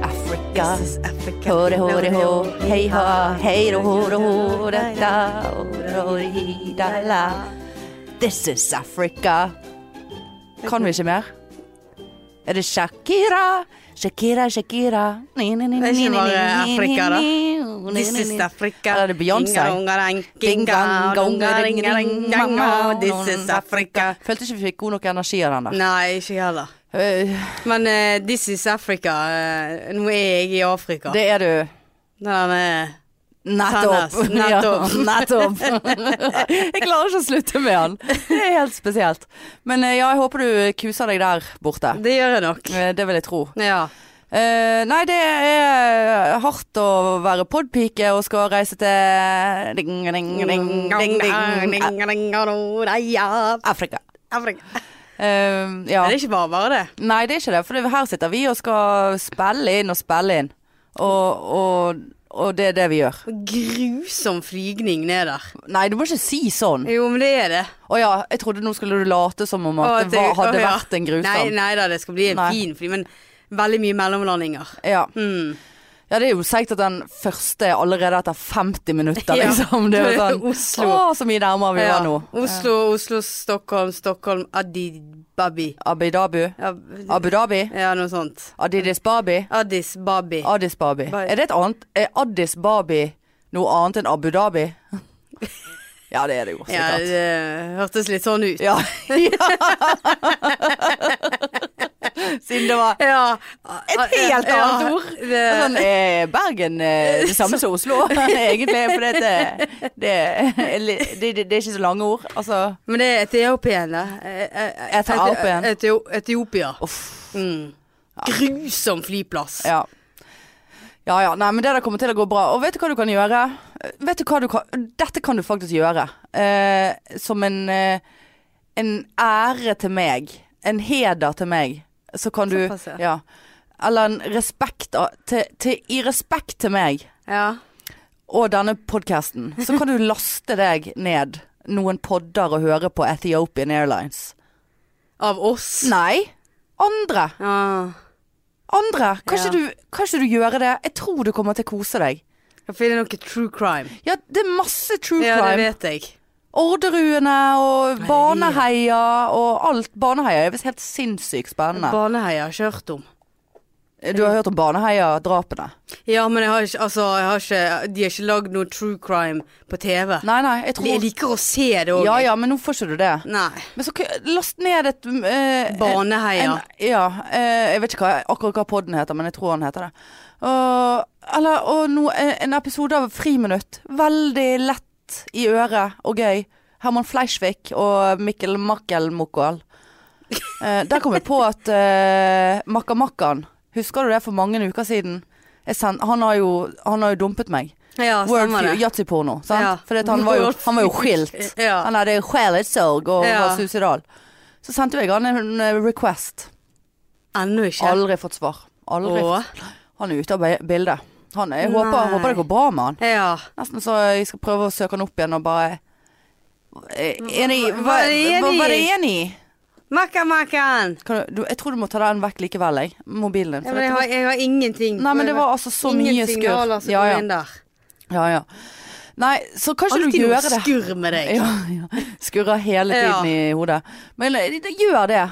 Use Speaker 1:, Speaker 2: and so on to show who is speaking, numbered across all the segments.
Speaker 1: Africa. Hore, hore, ho, hei ha, hei ro, hore, hore, da, hore, hore, hi, da, la. This is Africa. Kan vi ikke mer? Er det Shakira? Shakira, Shakira. Ni, ni, ni,
Speaker 2: Det er
Speaker 1: ni,
Speaker 2: ikke
Speaker 1: ni,
Speaker 2: bare
Speaker 1: ni,
Speaker 2: Afrika, da.
Speaker 1: ni, ni,
Speaker 2: This
Speaker 1: ni,
Speaker 2: is
Speaker 1: ni.
Speaker 2: Africa.
Speaker 1: Eller er det Beyoncé?
Speaker 2: Inga, unga, ring,
Speaker 1: Ding,
Speaker 2: inga,
Speaker 1: gang, gang,
Speaker 2: unga,
Speaker 1: ring,
Speaker 2: ring,
Speaker 1: ring,
Speaker 2: ring, gang,
Speaker 1: mamma,
Speaker 2: oh, This is Africa.
Speaker 1: Følte ikke vi fikk god nok energi av den der.
Speaker 2: Nei, ikke jeg heller.
Speaker 1: Eh,
Speaker 2: Men eh, This is Africa. eh, nå er jeg i Afrika.
Speaker 1: Det er du.
Speaker 2: Den er
Speaker 1: Nettopp.
Speaker 2: Sandnes, nettopp.
Speaker 1: Ja, nettopp. jeg klarer ikke å slutte med han. Det er helt spesielt. Men eh, ja, jeg håper du kuser deg der borte.
Speaker 2: Det gjør jeg nok.
Speaker 1: Eh, Det vil jeg tro.
Speaker 2: Ja.
Speaker 1: Eh, nei, det er eh, hardt å være podpike og skal reise til eh, ding, ding, ding, ding, ding, eh,
Speaker 2: Afrika.
Speaker 1: Afrika. Eh, ja.
Speaker 2: Er det ikke bare bare det?
Speaker 1: Nei, det er ikke det. For det, her sitter vi og skal spille inn og spille inn. Og, og, og det er det vi gjør.
Speaker 2: Grusom flygning ned der.
Speaker 1: Nei, du må ikke si sånn.
Speaker 2: Jo, men det er det.
Speaker 1: Å ja, jeg trodde nå skulle du late som om at det var, hadde vært en grusom.
Speaker 2: Nei, nei da, det skal bli en
Speaker 1: Nei.
Speaker 2: fin fly, men veldig mye mellomlandinger.
Speaker 1: Ja.
Speaker 2: Mm.
Speaker 1: ja, det er jo seigt at den første er allerede etter 50 minutter,
Speaker 2: Ja.
Speaker 1: liksom. Det er jo sånn
Speaker 2: Oslo.
Speaker 1: Å, så mye nærmere vi
Speaker 2: Ja.
Speaker 1: var nå.
Speaker 2: Oslo, Oslo, Stockholm, Stockholm, Adibabi.
Speaker 1: Abu Dhabi.
Speaker 2: Ja,
Speaker 1: Abu Dhabi.
Speaker 2: ja, noe sånt.
Speaker 1: Adidis Babi.
Speaker 2: Addis Babi.
Speaker 1: Addis Babi.
Speaker 2: Ba-
Speaker 1: Er det et annet Er Addis Babi noe annet enn Abu Dhabi? ja, det er det jo,
Speaker 2: Ja,
Speaker 1: sikkert.
Speaker 2: det hørtes litt sånn ut.
Speaker 1: Ja. Siden det var
Speaker 2: Ah, Ja.
Speaker 1: Et helt annet ord.
Speaker 2: Det,
Speaker 1: Sånn, eh, Bergen eh, det samme som Oslo, egentlig. For det, det, det, det, det er ikke så lange ord. Altså
Speaker 2: men det er etiopiene. Eh, eh,
Speaker 1: Etiopien.
Speaker 2: Etio- Etiopia.
Speaker 1: uff.
Speaker 2: Mm. Grusom flyplass.
Speaker 1: Ja. Ja ja, nei, men det der kommer til å gå bra. Og vet du hva du kan gjøre? Vet du hva du kan Dette kan du faktisk gjøre. Eh, som en, eh, en ære til meg. En heder til meg. Så kan du
Speaker 2: Såpass, ja.
Speaker 1: ja. Eller en respekt av- til, til, I respekt til meg.
Speaker 2: Ja.
Speaker 1: og denne podkasten, så kan du laste deg ned noen podder og høre på Ethiopian Airlines.
Speaker 2: Av oss.
Speaker 1: Nei, andre.
Speaker 2: Ah.
Speaker 1: Andre. Kanskje,
Speaker 2: Ja.
Speaker 1: du, kanskje du gjør det. Jeg tror du kommer til å kose deg.
Speaker 2: Skal finne noe true crime.
Speaker 1: Ja, det er masse true
Speaker 2: Ja, det
Speaker 1: crime.
Speaker 2: vet jeg.
Speaker 1: Orderudene og
Speaker 2: Nei.
Speaker 1: Baneheia og alt. Baneheia er visst helt sinnssykt spennende.
Speaker 2: Baneheia har jeg ikke hørt om.
Speaker 1: Du har hørt om Baneheia-drapene?
Speaker 2: Ja, men jeg har ikke, altså, jeg har ikke De har ikke lagd noe true crime på TV.
Speaker 1: Nei, nei, jeg
Speaker 2: De
Speaker 1: tror
Speaker 2: liker å se det òg.
Speaker 1: Ja ja, men nå får ikke du det.
Speaker 2: Nei.
Speaker 1: Men så k- last ned et eh,
Speaker 2: Baneheia.
Speaker 1: En, ja. Eh, jeg vet ikke hva, akkurat hva podden heter, men jeg tror han heter det. Og, eller og nå, en, en episode av Friminutt. Veldig lett i øret og gøy. Herman Fleischvik og Mikkel Makkelmokoal. Eh, der kom jeg på at eh, Makka Makkan Husker du det for mange uker siden? Jeg send, han, har jo, han har jo dumpet meg.
Speaker 2: Ja,
Speaker 1: Word
Speaker 2: stemmer det.
Speaker 1: yatzyporno. sant?
Speaker 2: Ja.
Speaker 1: Fordi at han var jo,
Speaker 2: Word
Speaker 1: han var jo
Speaker 2: feud.
Speaker 1: skilt.
Speaker 2: Ja.
Speaker 1: Han hadde sjelesorg og
Speaker 2: Ja.
Speaker 1: var suicidal. Så sendte jeg han en eh, request.
Speaker 2: Ennå ikke.
Speaker 1: Aldri fått svar. Aldri.
Speaker 2: Åh.
Speaker 1: Han er ute av bi- bildet. Han, jeg håper,
Speaker 2: Nei.
Speaker 1: håper det går bra med han.
Speaker 2: Ja.
Speaker 1: Nesten så jeg skal prøve å søke han opp igjen og bare eh, Enig
Speaker 2: Hva-
Speaker 1: Hva
Speaker 2: hva er det enig i?
Speaker 1: hva er det enig i?
Speaker 2: Makka, makkan.
Speaker 1: Kan du- du- Jeg tror du må ta den vekk likevel, jeg. Mobilen din.
Speaker 2: Ja,
Speaker 1: for
Speaker 2: men jeg
Speaker 1: dette
Speaker 2: har, jeg har ingenting.
Speaker 1: var- Nei, men det var altså så
Speaker 2: Ingen
Speaker 1: mye skurr.
Speaker 2: signaler som
Speaker 1: Ja,
Speaker 2: går
Speaker 1: ja.
Speaker 2: inn der.
Speaker 1: ja, ja. Nei, så kanskje du
Speaker 2: Alltid
Speaker 1: gjør
Speaker 2: noe
Speaker 1: det.
Speaker 2: skurr med deg.
Speaker 1: Ja, ja. Skurrer hele tiden i hodet. Men eh, det gjør det.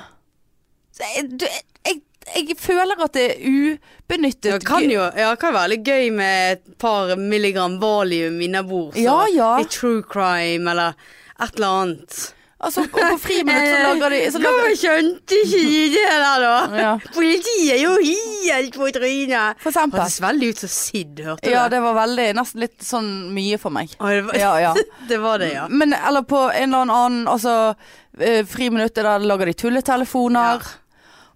Speaker 1: Så jeg, du- jeg, jeg føler at det er ubenyttet
Speaker 2: Det kan
Speaker 1: gu-
Speaker 2: jo ja, det kan være litt gøy med et par milligram valium innabords. og
Speaker 1: Ja, ja.
Speaker 2: Litt true crime eller et eller annet.
Speaker 1: Altså, og på friminutt så
Speaker 2: Eh,
Speaker 1: lager de så lager,
Speaker 2: Hvorfor skjønte ikke de det der, da?
Speaker 1: Ja.
Speaker 2: Politiet er jo helt på trynet.
Speaker 1: For eksempel.
Speaker 2: Hørtes veldig ut som Sid, hørte du
Speaker 1: Ja,
Speaker 2: det?
Speaker 1: det var veldig Nesten litt sånn mye for meg.
Speaker 2: Å, det var,
Speaker 1: Ja, ja. Mm.
Speaker 2: det var det, ja.
Speaker 1: Men eller på en eller annen Altså, eh, friminuttet der lager de tulletelefoner.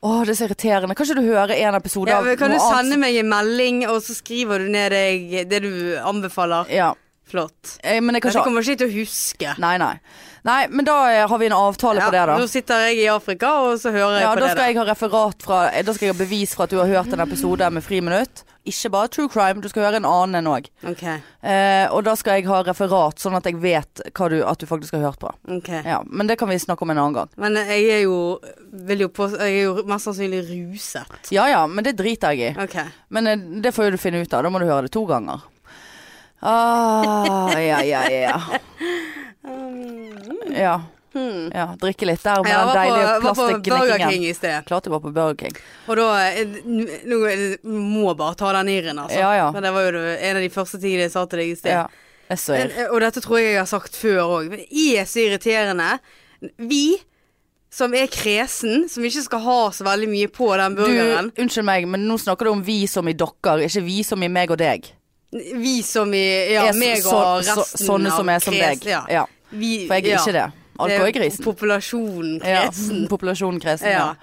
Speaker 1: Å, det er så irriterende. Kan ikke du høre en episode
Speaker 2: ja
Speaker 1: av
Speaker 2: men kan du
Speaker 1: noe annet
Speaker 2: sende meg en melding, og så skriver du ned deg det du anbefaler?
Speaker 1: Ja.
Speaker 2: Flott.
Speaker 1: Eh, Men jeg kan
Speaker 2: Dette
Speaker 1: ikke
Speaker 2: kommer jeg ikke til å huske.
Speaker 1: Nei, nei. Nei, men da eh, har vi en avtale på det, da.
Speaker 2: Nå sitter jeg i Afrika, og så hører jeg
Speaker 1: Ja,
Speaker 2: på
Speaker 1: da
Speaker 2: det.
Speaker 1: skal jeg ha referat fra eh, Da skal jeg ha bevis for at du har hørt en episode med Friminutt. Ikke bare true crime, du skal høre en annen en òg.
Speaker 2: da. Ok,
Speaker 1: Eh, og da skal jeg ha referat, sånn at jeg vet hva du, at du faktisk har hørt på.
Speaker 2: ok.
Speaker 1: Ja, Men det kan vi snakke om en annen gang.
Speaker 2: Men jeg er jo, vil jo på, jeg er jo mest sannsynlig ruset.
Speaker 1: Ja ja, men det driter jeg i.
Speaker 2: Ok.
Speaker 1: Men eh, det får jo du finne ut av. Da må du høre det to ganger. Ah, ja, ja, ja. Ja.
Speaker 2: Hmm.
Speaker 1: ja. Drikke litt der med
Speaker 2: Jeg
Speaker 1: den
Speaker 2: var på,
Speaker 1: deilige
Speaker 2: var på Burger
Speaker 1: plastikkgnikkingen.
Speaker 2: King i sted.
Speaker 1: Klart jeg var på Burger King.
Speaker 2: Og da eh, n- Nå er det- må jeg bare ta den irren, altså.
Speaker 1: Ja, ja.
Speaker 2: Men det var jo det- en av de første tingene jeg sa til deg i sted.
Speaker 1: Ja. Jeg så
Speaker 2: Men, eh, og dette tror jeg jeg har sagt før òg. men Det er så irriterende. Vi som er kresen, som ikke skal ha så veldig mye på den
Speaker 1: Du,
Speaker 2: burgeren.
Speaker 1: unnskyld meg, men nå snakker du om vi som i dere, ikke vi som i meg og deg.
Speaker 2: Vi som i Ja,
Speaker 1: Er så-
Speaker 2: meg og
Speaker 1: så-
Speaker 2: resten
Speaker 1: så- sånne
Speaker 2: av
Speaker 1: som er som
Speaker 2: kres-
Speaker 1: deg.
Speaker 2: Ja.
Speaker 1: Ja.
Speaker 2: Vi,
Speaker 1: For jeg er
Speaker 2: ja.
Speaker 1: ikke det. Alko er grisen.
Speaker 2: Populasjonen
Speaker 1: Ja.
Speaker 2: kresen.
Speaker 1: Populasjonen kresen. Ja.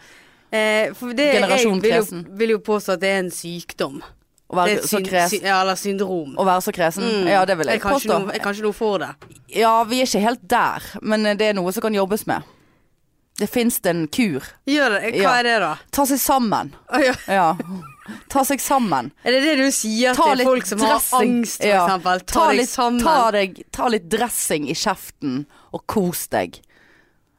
Speaker 2: Ja. Eh, for det,
Speaker 1: Generasjon
Speaker 2: jeg vil jo,
Speaker 1: kresen.
Speaker 2: vil jo påstå at det er en sykdom.
Speaker 1: Å være
Speaker 2: et
Speaker 1: så
Speaker 2: syn-
Speaker 1: kres-
Speaker 2: sy- ja, eller syndrom.
Speaker 1: Å være så kresen.
Speaker 2: Mm.
Speaker 1: Ja, det vil jeg,
Speaker 2: jeg kan
Speaker 1: påstå.
Speaker 2: Ikke noe, jeg kan ikke noe for det.
Speaker 1: Ja, vi er ikke helt der, men eh, det er noe som kan jobbes med. Det fins en kur.
Speaker 2: Gjør det. Hva
Speaker 1: Ja.
Speaker 2: er det, da?
Speaker 1: Ta seg sammen.
Speaker 2: Å, ja.
Speaker 1: Ja. Ta seg sammen.
Speaker 2: Er det det du sier
Speaker 1: Ta
Speaker 2: til
Speaker 1: litt
Speaker 2: folk som har
Speaker 1: dressing.
Speaker 2: angst, for
Speaker 1: Ja.
Speaker 2: eksempel? Ta, deg
Speaker 1: litt,
Speaker 2: sammen.
Speaker 1: Ta, deg, ta litt dressing i kjeften, og kos deg.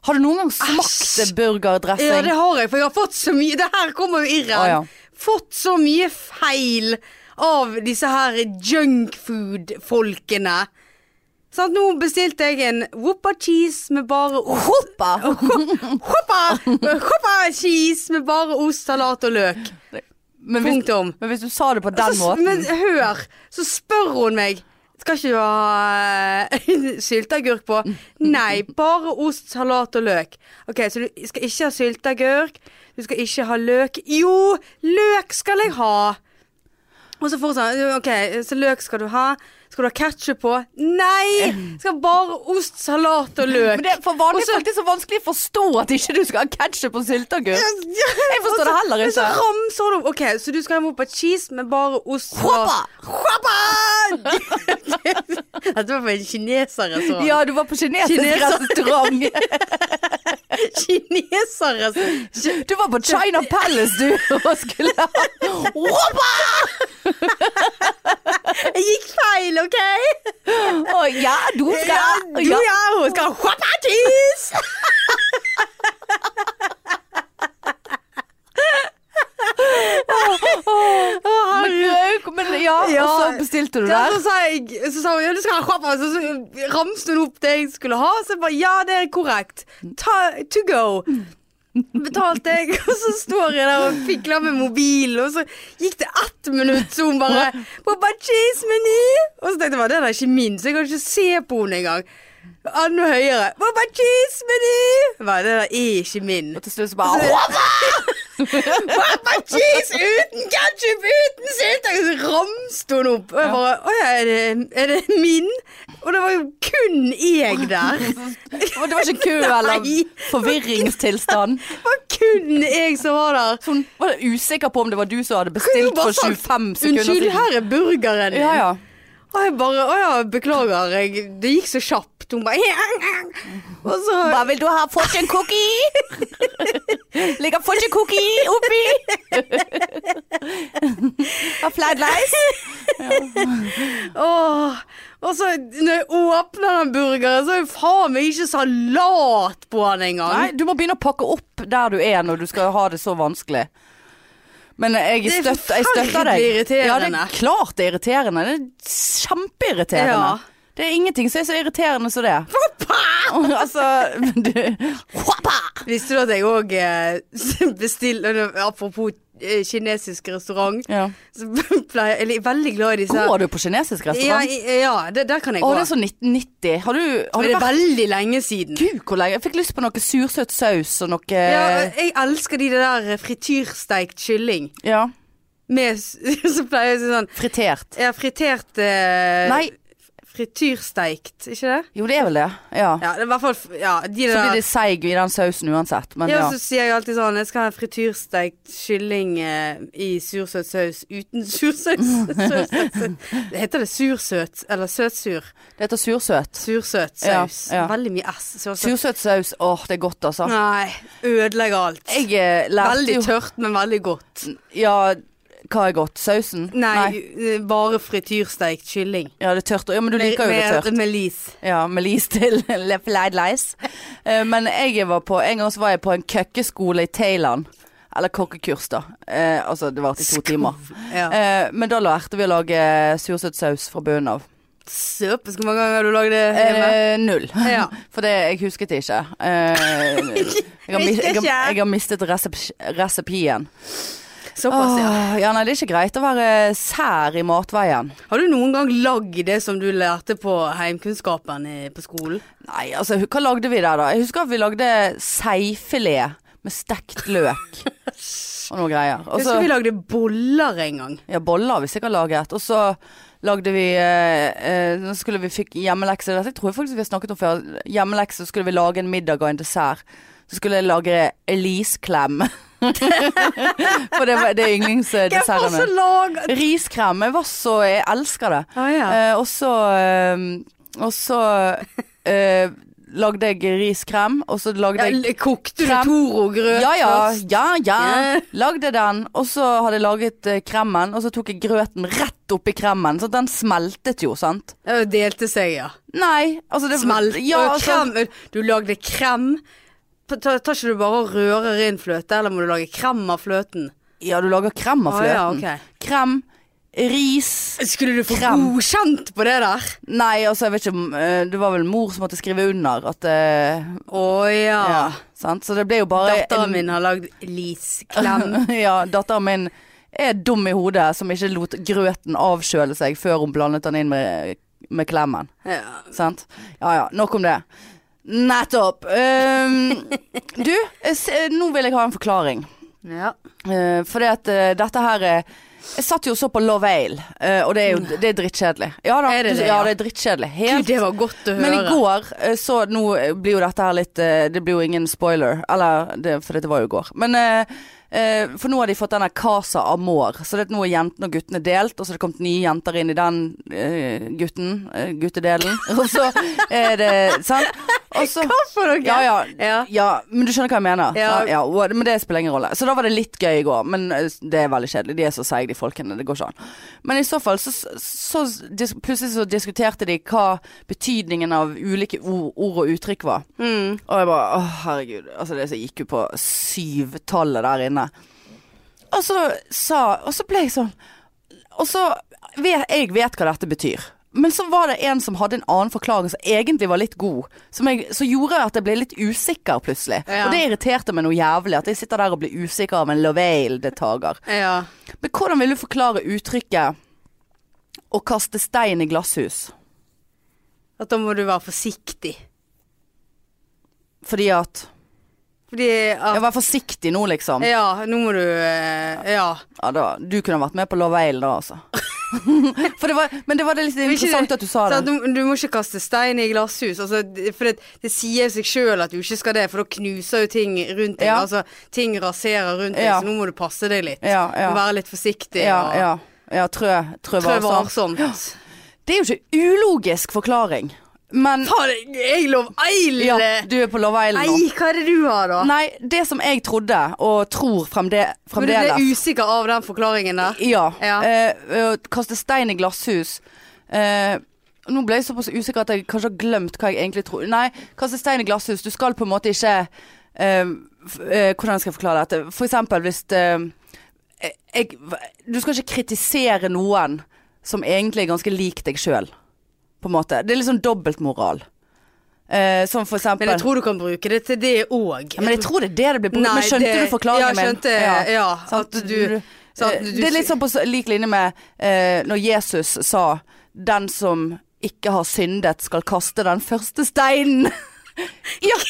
Speaker 1: Har du noen gang smakt
Speaker 2: Æsj.
Speaker 1: burgerdressing?
Speaker 2: ja, det har jeg, for jeg har fått så mye Det her kommer jo irren.
Speaker 1: Å, ja.
Speaker 2: Fått så mye feil av disse her junkfood-folkene. Sant, nå bestilte jeg en Whopper cheese med bare ost.
Speaker 1: Hoppa!
Speaker 2: Whopper, Whopper cheese med bare ost, salat og løk.
Speaker 1: Men hvis,
Speaker 2: Punktum. Altså,
Speaker 1: men hvis du sa det på den
Speaker 2: så,
Speaker 1: måten
Speaker 2: Men hør, så spør hun meg Skal ikke du ha eh, sylteagurk på? Nei, bare ost, salat og løk. Ok, Så du skal ikke ha sylteagurk, du skal ikke ha løk. Jo, løk skal jeg ha! Og så fortsatt, ok, så løk skal du ha. Skal du ha ketsjup på? Nei! Skal bare ost, salat og
Speaker 1: Men
Speaker 2: løk.
Speaker 1: det er for vanlige
Speaker 2: Også-
Speaker 1: folk det er så vanskelig å forstå at ikke du skal ha ketsjup og sylteagurk.
Speaker 2: Jeg
Speaker 1: forstår det heller
Speaker 2: Så
Speaker 1: ikke.
Speaker 2: ramser du Ok, så du skal ha woppa cheese med bare ost
Speaker 1: Whopper!
Speaker 2: Whopper! Dette var for en kineserrestaurant.
Speaker 1: Ja, du var på kinesisk
Speaker 2: Kineser.
Speaker 1: restaurant.
Speaker 2: Kineserrestaurant.
Speaker 1: Du var på China Palace, du, og skulle ha Whoppa!
Speaker 2: Jeg gikk feil, OK?
Speaker 1: Å ja, du
Speaker 2: Ja,
Speaker 1: skal
Speaker 2: du ja, hun skal ha woppa cheese!
Speaker 1: Men røyk, men ja,
Speaker 2: Ja.
Speaker 1: og så bestilte du
Speaker 2: Ja,
Speaker 1: der.
Speaker 2: så sa jeg Så sa hun ja, du skal ha woppa. Så, så ramste hun opp det jeg skulle ha. Så jeg bare ja, det er korrekt. Ta, to go. Betalte jeg, og så står jeg der og fikler med mobilen, og så gikk det ett minutt, så hun bare Pappa, cheese-meny! Og så tenkte jeg bare, den er ikke min, så jeg kan ikke se på henne engang. Enda høyere. Pappa, cheese-meny! Jeg bare, Den der er ikke min.
Speaker 1: Og til slutt så bare Whoppa!
Speaker 2: Papa cheese uten ketchup, uten syltetøy! Så ramste hun opp. Og jeg bare Å ja, er det, er det min? Og det var jo kun jeg der.
Speaker 1: Og det var ikke kø eller
Speaker 2: Nei.
Speaker 1: forvirringstilstand.
Speaker 2: Det var kun jeg som var der.
Speaker 1: Så hun var usikker på om det var du som hadde
Speaker 2: Jeg
Speaker 1: bestilt
Speaker 2: kunne
Speaker 1: for
Speaker 2: bare sagt,
Speaker 1: 25 sekunder
Speaker 2: Unnskyld,
Speaker 1: siden.
Speaker 2: her er burgeren din.
Speaker 1: Ja, ja.
Speaker 2: Og jeg bare Å ja, beklager. Jeg, det gikk så kjapt. Hun bare Og så
Speaker 1: Hva vil du ha? Fortune cookie? Ligger fortune cookie oppi? Og flat lice?
Speaker 2: Åh, og så når jeg åpner den burgeren, så er det faen meg ikke salat på den engang.
Speaker 1: Nei, du må begynne å pakke opp der du er når du skal ha det så vanskelig. Men jeg
Speaker 2: Det er
Speaker 1: støtter, jeg støtter deg.
Speaker 2: forferdelig irriterende.
Speaker 1: Ja, det er klart det er irriterende. Det er kjempeirriterende.
Speaker 2: Ja.
Speaker 1: Det er ingenting som er så irriterende som det. altså, du Hoppa!
Speaker 2: Visste du at jeg òg eh, bestiller Apropos eh, kinesisk restaurant.
Speaker 1: Ja.
Speaker 2: Så pleier Eller jeg er veldig glad i disse
Speaker 1: Går du på kinesisk
Speaker 2: Ja,
Speaker 1: restaurant?
Speaker 2: i- eh, ja det, der kan jeg
Speaker 1: Å,
Speaker 2: gå.
Speaker 1: det er så 1990. Har du, har
Speaker 2: Men
Speaker 1: du
Speaker 2: det er
Speaker 1: vært
Speaker 2: veldig lenge siden.
Speaker 1: Gud, eh. hvor lenge? Jeg fikk lyst på noe sursøt saus og noe
Speaker 2: Ja,
Speaker 1: Ja.
Speaker 2: og jeg elsker de der eh, frityrsteikt kylling. Med s- Så pleier jeg å si sånn
Speaker 1: Fritert.
Speaker 2: Jeg har fritert eh,
Speaker 1: Nei,
Speaker 2: Frityrsteikt, ikke det?
Speaker 1: Jo, det er vel det. Ja.
Speaker 2: Ja, det er i hvert fall ja, de
Speaker 1: Så blir
Speaker 2: der
Speaker 1: det seig i den sausen uansett. Men
Speaker 2: ja,
Speaker 1: ja.
Speaker 2: så sier jeg alltid sånn Jeg skal ha en frityrsteikt kylling eh, i sursøt saus uten sursøt. søt, søt, søt. Heter det sursøt eller søtsur?
Speaker 1: Det heter sursøt.
Speaker 2: Sursøt saus.
Speaker 1: Ja, ja.
Speaker 2: Veldig mye S. Sursøt.
Speaker 1: Sursøt saus. Åh, det er godt, altså.
Speaker 2: Nei, ødelegger alt.
Speaker 1: Jeg eh, lærte
Speaker 2: veldig
Speaker 1: jo
Speaker 2: tørt, men veldig godt.
Speaker 1: Ja, hva er godt? Sausen?
Speaker 2: Nei, eh, bare frityrsteikt kylling.
Speaker 1: Ja, det er tørt. Ja, men du liker jo det
Speaker 2: med,
Speaker 1: tørt.
Speaker 2: med lis.
Speaker 1: Ja, med lis til Leid Leis. Eh, Men jeg var på, en gang så var jeg på en køkkeskole i Thailand. Eller kokkekurs, da. Eh, altså, det varte i to timer.
Speaker 2: Ja.
Speaker 1: Eh, men da lærte vi å lage sursøtsaus fra bunnen av.
Speaker 2: Søpes, hvor mange ganger har du lagd det hjemme?
Speaker 1: Eh, null.
Speaker 2: Ja.
Speaker 1: For det, jeg husket det ikke. Eh, jeg, har, mis- jeg, har, jeg har mistet resep resepien.
Speaker 2: Såpass, ja.
Speaker 1: Åh, ja, nei, det er ikke greit å være sær i matveien.
Speaker 2: Har du noen gang lagd det som du lærte på heimkunnskapen i, på skolen?
Speaker 1: Nei, altså, hva lagde vi der da? Jeg husker at vi lagde seifilet med stekt løk. og noen greier. Og
Speaker 2: Jeg
Speaker 1: så,
Speaker 2: husker vi lagde boller en gang.
Speaker 1: ja, boller har vi sikkert laget. Og så lagde vi eh, eh, Nå skulle vi fikk hjemmelekse. Dette tror jeg faktisk vi har snakket om før. Hjemmelekse, så skulle vi lage en middag og en dessert. Så skulle jeg lage Elise-klem. For det, var, det er yndlingsdesserten min.
Speaker 2: lager
Speaker 1: Riskrem. Jeg var så Jeg elsker det.
Speaker 2: ah, ja.
Speaker 1: Eh, og så eh, Og så eh, lagde jeg riskrem, og så lagde jeg
Speaker 2: l- Kokte du
Speaker 1: Krem.
Speaker 2: Toro-grøt
Speaker 1: ja, ja,
Speaker 2: først?
Speaker 1: ja, ja.
Speaker 2: Ja.
Speaker 1: Lagde den, og så hadde jeg laget eh, kremen, og så tok jeg grøten rett oppi kremen, så den smeltet jo, sant?
Speaker 2: Ja, det Delte seg, ja.
Speaker 1: Nei, altså det
Speaker 2: Smelt.
Speaker 1: Ja,
Speaker 2: Og
Speaker 1: altså,
Speaker 2: krem. Du lagde krem. Pa- Tar tar ikke du bare og rører inn fløte, eller må du lage krem av fløten?
Speaker 1: ja du lager krem av
Speaker 2: Ah,
Speaker 1: fløten.
Speaker 2: ja, ok.
Speaker 1: Krem, ris
Speaker 2: Skulle du få
Speaker 1: Krem.
Speaker 2: godkjent på det der?
Speaker 1: Nei, altså jeg vet ikke, m- eh, det var vel mor som måtte skrive under at eh,
Speaker 2: Å ja.
Speaker 1: ja, sant? Så det ble jo bare en-
Speaker 2: Datteren min har lagd Lis-klem.
Speaker 1: ja, datteren min er dum i hodet som ikke lot grøten avkjøle seg før hun blandet den inn med, med klemmen.
Speaker 2: ja.
Speaker 1: Sant? Ja ja, nok om det. Nettopp. Ehm, du, eh, s- eh, nå vil jeg ha en forklaring.
Speaker 2: ja.
Speaker 1: Uh, fordi at eh, dette her eh, Jeg satt jo og så på Love Ale, eh, og det er jo det er drittkjedelig. Ja da,
Speaker 2: Mm. Er det det,
Speaker 1: ja,
Speaker 2: ja?
Speaker 1: det er drittkjedelig.
Speaker 2: Gud,
Speaker 1: Helt
Speaker 2: det var godt å høre.
Speaker 1: men i går eh, så Nå eh, blir jo dette her litt eh, Det blir jo ingen spoiler, eller det, For dette var jo i går. Men eh, eh, For nå har de fått denne Casa Amor. Så det, er nå er jentene og guttene delt, og så er det kommet nye jenter inn i den eh, gutten. eh, guttedelen. Og så er det Sant? Og så
Speaker 2: Hvorfor dere?
Speaker 1: ja, ja, ja.
Speaker 2: Ja.
Speaker 1: men du skjønner hva jeg mener.
Speaker 2: Ja.
Speaker 1: sant? Ja, og- men det spiller ingen rolle. Så da var det litt gøy i går, men eh, det er veldig kjedelig. De er så seige, de folkene. Det går ikke an. Men i så fall så, så, så dis plutselig så diskuterte de hva betydningen av ulike ord, ord og uttrykk var.
Speaker 2: Mm.
Speaker 1: Og jeg bare Å, herregud. Altså, det som gikk jo på syvtallet der inne. Og så sa Og så ble jeg sånn Og så vet, Jeg vet hva dette betyr. Men så var det en som hadde en annen forklaring som egentlig var litt god. Som jeg, så gjorde at jeg ble litt usikker plutselig.
Speaker 2: Ja.
Speaker 1: Og det irriterte meg noe jævlig. At jeg sitter der og blir usikker av en Lovail-deltaker.
Speaker 2: ja.
Speaker 1: Men hvordan vil du forklare uttrykket 'å kaste stein i glasshus'?
Speaker 2: At da må du være forsiktig.
Speaker 1: Fordi at
Speaker 2: Fordi
Speaker 1: Ja,
Speaker 2: at,
Speaker 1: vær forsiktig nå, liksom.
Speaker 2: Ja, nå må du eh, Ja.
Speaker 1: Ja, da, du kunne vært med på Love Isle da, altså. For det var, men det var det litt
Speaker 2: Men ikke
Speaker 1: interessant
Speaker 2: det-
Speaker 1: at du sa
Speaker 2: sant?
Speaker 1: det.
Speaker 2: du, du må ikke kaste stein i glasshus. Altså, det- for det, det sier seg sjøl at du ikke skal det, for da knuser jo ting rundt deg.
Speaker 1: Ja.
Speaker 2: Altså, ting raserer rundt deg,
Speaker 1: Ja.
Speaker 2: så nå må du passe deg litt.
Speaker 1: Ja,
Speaker 2: Og
Speaker 1: ja.
Speaker 2: være litt forsiktig.
Speaker 1: ja,
Speaker 2: og
Speaker 1: ja, sånn. ja trø, trø
Speaker 2: Trø
Speaker 1: varsomt.
Speaker 2: varsomt.
Speaker 1: Det er jo ikke ulogisk forklaring, men
Speaker 2: Faen, jeg lov eil!
Speaker 1: ja, du er på Love Isle nå.
Speaker 2: Nei, hva er det du har, da?
Speaker 1: Nei, det som jeg trodde, og tror fremde,
Speaker 2: Men du ble
Speaker 1: fremdeles
Speaker 2: usikker av den forklaringen der?
Speaker 1: Ja.
Speaker 2: Ja.
Speaker 1: eh, å kaste stein i glasshus. Eh, nå ble jeg såpass usikker at jeg kanskje har glemt hva jeg egentlig tror. Nei, kaste stein i glasshus. Du skal på en måte ikke eh, f eh, Hvordan skal jeg forklare dette? For eksempel hvis eh, jeg, Du skal ikke kritisere noen som egentlig er ganske lik deg sjøl, på en måte. Det er litt sånn dobbeltmoral. Eh, som for eksempel
Speaker 2: Men jeg tror du kan bruke det til det òg.
Speaker 1: Ja, men jeg tror det er det det blir brukt. Men skjønte
Speaker 2: det-
Speaker 1: du forklaringen
Speaker 2: ja,
Speaker 1: min?
Speaker 2: skjønte, min? Ja,
Speaker 1: Sant?
Speaker 2: at du sant,
Speaker 1: Eh,
Speaker 2: du-
Speaker 1: det er litt sånn på s- lik linje med eh, når Jesus sa 'den som ikke har syndet, skal kaste den første steinen'. ja!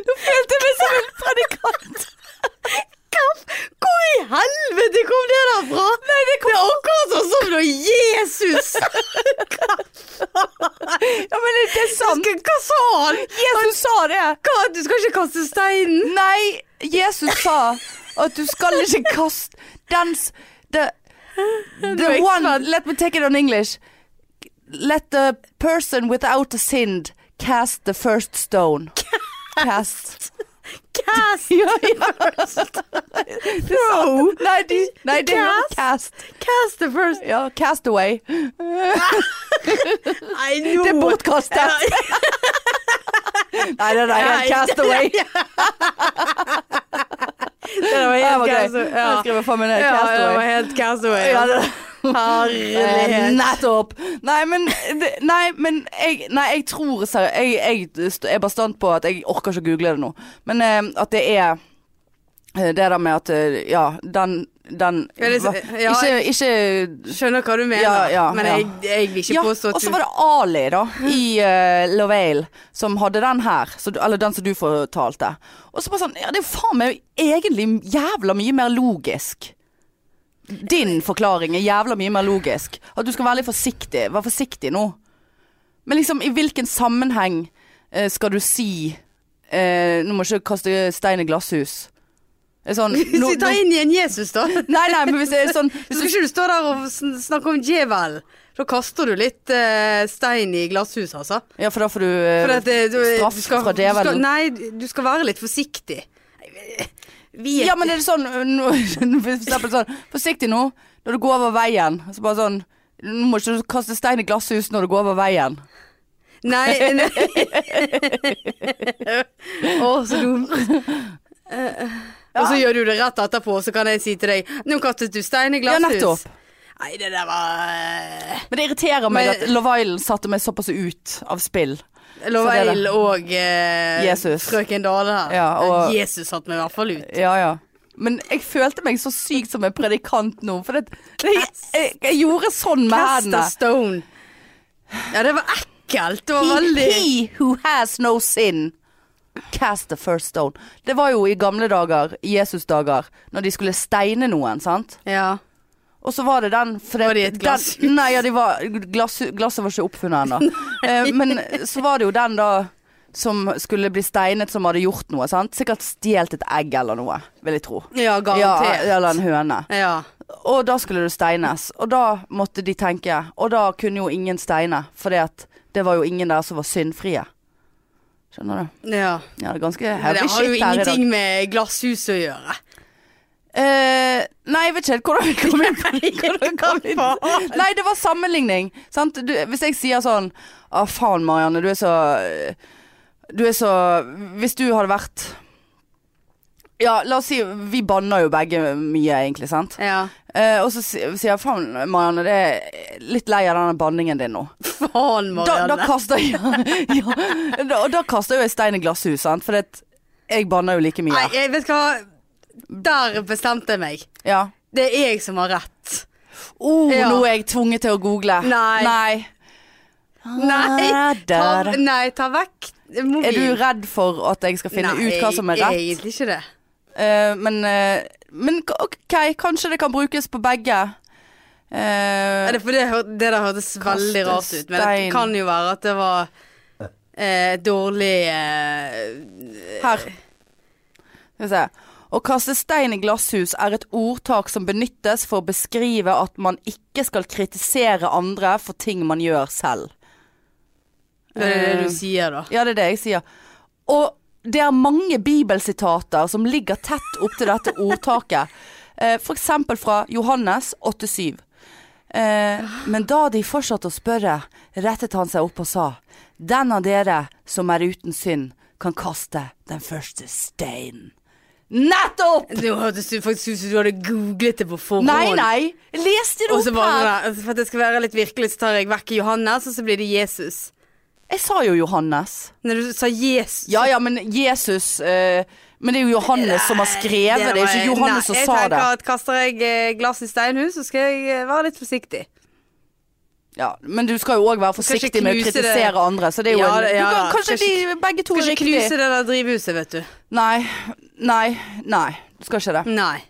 Speaker 1: Nå følte jeg meg som en predikant.
Speaker 2: Hvor i helvete kom det derfra? Nei, det kom Det er akkurat sånn som når ikke kaste steinen.
Speaker 1: Nei, Jesus sa at du skal ikke kaste dens the, the
Speaker 2: Next
Speaker 1: one Let me take it on English. Let the person without a sin cast the first stone. Cast.
Speaker 2: Cast,
Speaker 1: Ja, ja.
Speaker 2: bro.
Speaker 1: Nei, de, nei, det er
Speaker 2: Cast.
Speaker 1: cast.
Speaker 2: Cast the first.
Speaker 1: Ja, cast away.
Speaker 2: Nei, nå.
Speaker 1: Det er bortkastet. Nei, nei, nei,
Speaker 2: Nei.
Speaker 1: cast away.
Speaker 2: Det var
Speaker 1: Det var gøy.
Speaker 2: helt cast away. Ja.
Speaker 1: Jeg skriver faen meg ned
Speaker 2: Ja,
Speaker 1: cast
Speaker 2: det var
Speaker 1: away.
Speaker 2: helt cast away.
Speaker 1: Ja, det- Eh,
Speaker 2: Herlighet.
Speaker 1: Nettopp! Nei, men, det- nei, men jeg, nei, jeg tror seri- jeg, jeg st- er bastant på at jeg orker ikke å google det nå. Men eh, at det er eh, det der med at eh, ja, den, den
Speaker 2: Ja, det-
Speaker 1: hva-
Speaker 2: ja.
Speaker 1: Ikke, ikke
Speaker 2: Skjønner hva du mener,
Speaker 1: Ja, ja,
Speaker 2: men
Speaker 1: ja.
Speaker 2: jeg, jeg vil ikke
Speaker 1: ja,
Speaker 2: påstå
Speaker 1: og
Speaker 2: at
Speaker 1: så
Speaker 2: du Mm.
Speaker 1: var det Ali da, i uh, Lovale, som hadde den her. Så, du- eller den som du fortalte. Og så bare sånn, ja det er jo faen meg egentlig jævla mye mer logisk. Din forklaring er jævla mye mer logisk. At du skal være litt forsiktig. Vær forsiktig nå. Men liksom, i hvilken sammenheng eh, skal du si eh, Nå må jeg ikke kaste stein i glasshus. Det er Sånn,
Speaker 2: Hvis
Speaker 1: nå,
Speaker 2: vi tar
Speaker 1: nå,
Speaker 2: inn igjen Jesus, da.
Speaker 1: nei, nei, men hvis det er sånn
Speaker 2: Så skal ikke du stå der og sn- snakke om djevel. Da kaster du litt eh, stein i glasshuset, altså.
Speaker 1: Ja, for da får du
Speaker 2: For
Speaker 1: eh,
Speaker 2: at, eh, du,
Speaker 1: straff
Speaker 2: du skal,
Speaker 1: fra
Speaker 2: Du skal,
Speaker 1: djevelen.
Speaker 2: nei, du skal være litt forsiktig. Vi
Speaker 1: Ja, men er det sånn, øh, nå- for eksempel sånn Forsiktig nå, når du går over veien. Så bare sånn Nå må ikke du kaste stein i glasshus når du går over veien.
Speaker 2: Nei, nei. Å, så dumt. Og så gjør du det rett etterpå, så kan jeg si til deg Nå kastet du stein i
Speaker 1: Ja,
Speaker 2: glasshus.
Speaker 1: nettopp.
Speaker 2: Nei, det der var eh,
Speaker 1: Men det irriterer meg
Speaker 2: Men-
Speaker 1: at Love Island satte meg såpass ut av spill.
Speaker 2: Love
Speaker 1: Så det er det.
Speaker 2: Eil og eh,
Speaker 1: Jesus.
Speaker 2: frøken Dale her.
Speaker 1: Ja, og-
Speaker 2: Jesus satte meg i hvert fall ut.
Speaker 1: Ja, ja. Men jeg følte meg så syk som en predikant nå. For det, det, jeg, jeg, jeg gjorde sånn med
Speaker 2: Casta
Speaker 1: hendene.
Speaker 2: Stone. Ja, det var ekkelt. Det var
Speaker 1: He,
Speaker 2: veldig
Speaker 1: he who has no sin Cast the first stone Det var jo i gamle dager, i Jesus dager Når de skulle steine noen, sant?
Speaker 2: Ja.
Speaker 1: Og så var det den for det,
Speaker 2: Var det i et glasshus?
Speaker 1: Den, nei, ja, de var, glass, glasset var ikke oppfunnet ennå. Eh, men så var det jo den da som skulle bli steinet, som hadde gjort noe. sant? Sikkert stjålet et egg eller noe, vil jeg tro. Ja,
Speaker 2: Ja, garantert. Ja,
Speaker 1: eller en høne. Og da skulle det steines. Og da måtte de tenke. Og da kunne jo ingen steine, for det var jo ingen der som var syndfrie. Skjønner du?
Speaker 2: Ja.
Speaker 1: Ja, det er ganske
Speaker 2: Men
Speaker 1: heavy
Speaker 2: det har
Speaker 1: shit her
Speaker 2: jo
Speaker 1: i dag.
Speaker 2: ingenting med glasshus å gjøre.
Speaker 1: Eh, nei, jeg vet ikke helt hvordan vi kom inn på det. Hvordan kom vi
Speaker 2: Hva
Speaker 1: inn? Nei, det var sammenligning. Sant? Du, hvis jeg sier sånn Å, faen, Marianne, du er så Du er så Hvis du hadde vært Ja, la oss si Vi banner jo begge mye, egentlig, sant?
Speaker 2: Ja.
Speaker 1: Eh, og så si- sier jeg faen, Marianne, det er litt lei av denne banningen din nå.
Speaker 2: Faen,
Speaker 1: Da, da
Speaker 2: Marianne.
Speaker 1: kaster jeg ja, da, Og da kaster jeg jo en stein i glasshus, sant? For det, jeg banner jo like
Speaker 2: Nei,
Speaker 1: mye.
Speaker 2: jeg vet hva. Der bestemte jeg meg.
Speaker 1: Ja.
Speaker 2: Det er jeg som har rett.
Speaker 1: Oh,
Speaker 2: Ja.
Speaker 1: Nå er jeg tvunget til å google.
Speaker 2: Nei. Nei,
Speaker 1: Ah, der.
Speaker 2: ta, nei, ta vekk mobilen.
Speaker 1: Er du redd for at jeg skal finne ut hva som er
Speaker 2: Nei,
Speaker 1: rett?
Speaker 2: egentlig ikke det.
Speaker 1: Eh, men, eh, men k- OK, kanskje det kan brukes på begge. Eh,
Speaker 2: Er det, for det, hør- det der hørtes veldig rart ut, men det
Speaker 1: stein.
Speaker 2: kan jo være at det var eh, dårlig eh,
Speaker 1: her. Skal vi se. Å kaste stein i glasshus er et ordtak som benyttes for å beskrive at man ikke skal kritisere andre for ting man gjør selv.
Speaker 2: Det er det
Speaker 1: Eh,
Speaker 2: du sier, da.
Speaker 1: Ja, det er det jeg sier. Og det er mange bibelsitater som ligger tett opp til dette ordtaket. Eh, For eksempel fra Johannes 8,7. Eh, Men da de fortsatte å spørre, rettet han seg opp og sa:" Den av dere som er uten synd, kan kaste den første steinen. Nettopp!
Speaker 2: Nå hørtes det faktisk ut som du hadde googlet det på forhånd.
Speaker 1: Nei, nei. Jeg Leste det
Speaker 2: Og så
Speaker 1: opp
Speaker 2: bare,
Speaker 1: her.
Speaker 2: sånn der, For at det skal være litt virkelig, så tar jeg vekk Johannes, og så blir det Jesus.
Speaker 1: Jeg sa jo Johannes.
Speaker 2: Når du sa Jesus
Speaker 1: Ja ja, men Jesus eh, Men det er jo Johannes som har skrevet det. Det er ikke
Speaker 2: var-
Speaker 1: Johannes som
Speaker 2: nei,
Speaker 1: sa
Speaker 2: Jeg
Speaker 1: det.
Speaker 2: tenker at kaster jeg eh, glass i steinhus, så skal jeg eh, være litt forsiktig.
Speaker 1: Ja, men du skal jo òg være
Speaker 2: skal ikke
Speaker 1: forsiktig med å
Speaker 2: knuse det.
Speaker 1: kritisere andre, så det er jo
Speaker 2: Ja,
Speaker 1: en,
Speaker 2: det- ja
Speaker 1: du kan,
Speaker 2: da.
Speaker 1: Kanskje
Speaker 2: Skal
Speaker 1: de begge to er
Speaker 2: Skal ikke
Speaker 1: riktig.
Speaker 2: knuse det der drivhuset, vet du.
Speaker 1: Nei, nei, nei. Du skal ikke det.
Speaker 2: Nei.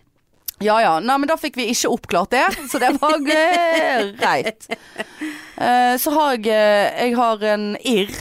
Speaker 1: Ja ja. Nei, men da fikk vi ikke oppklart det, så det var greit. Eh, så har jeg eh, Jeg har en irr.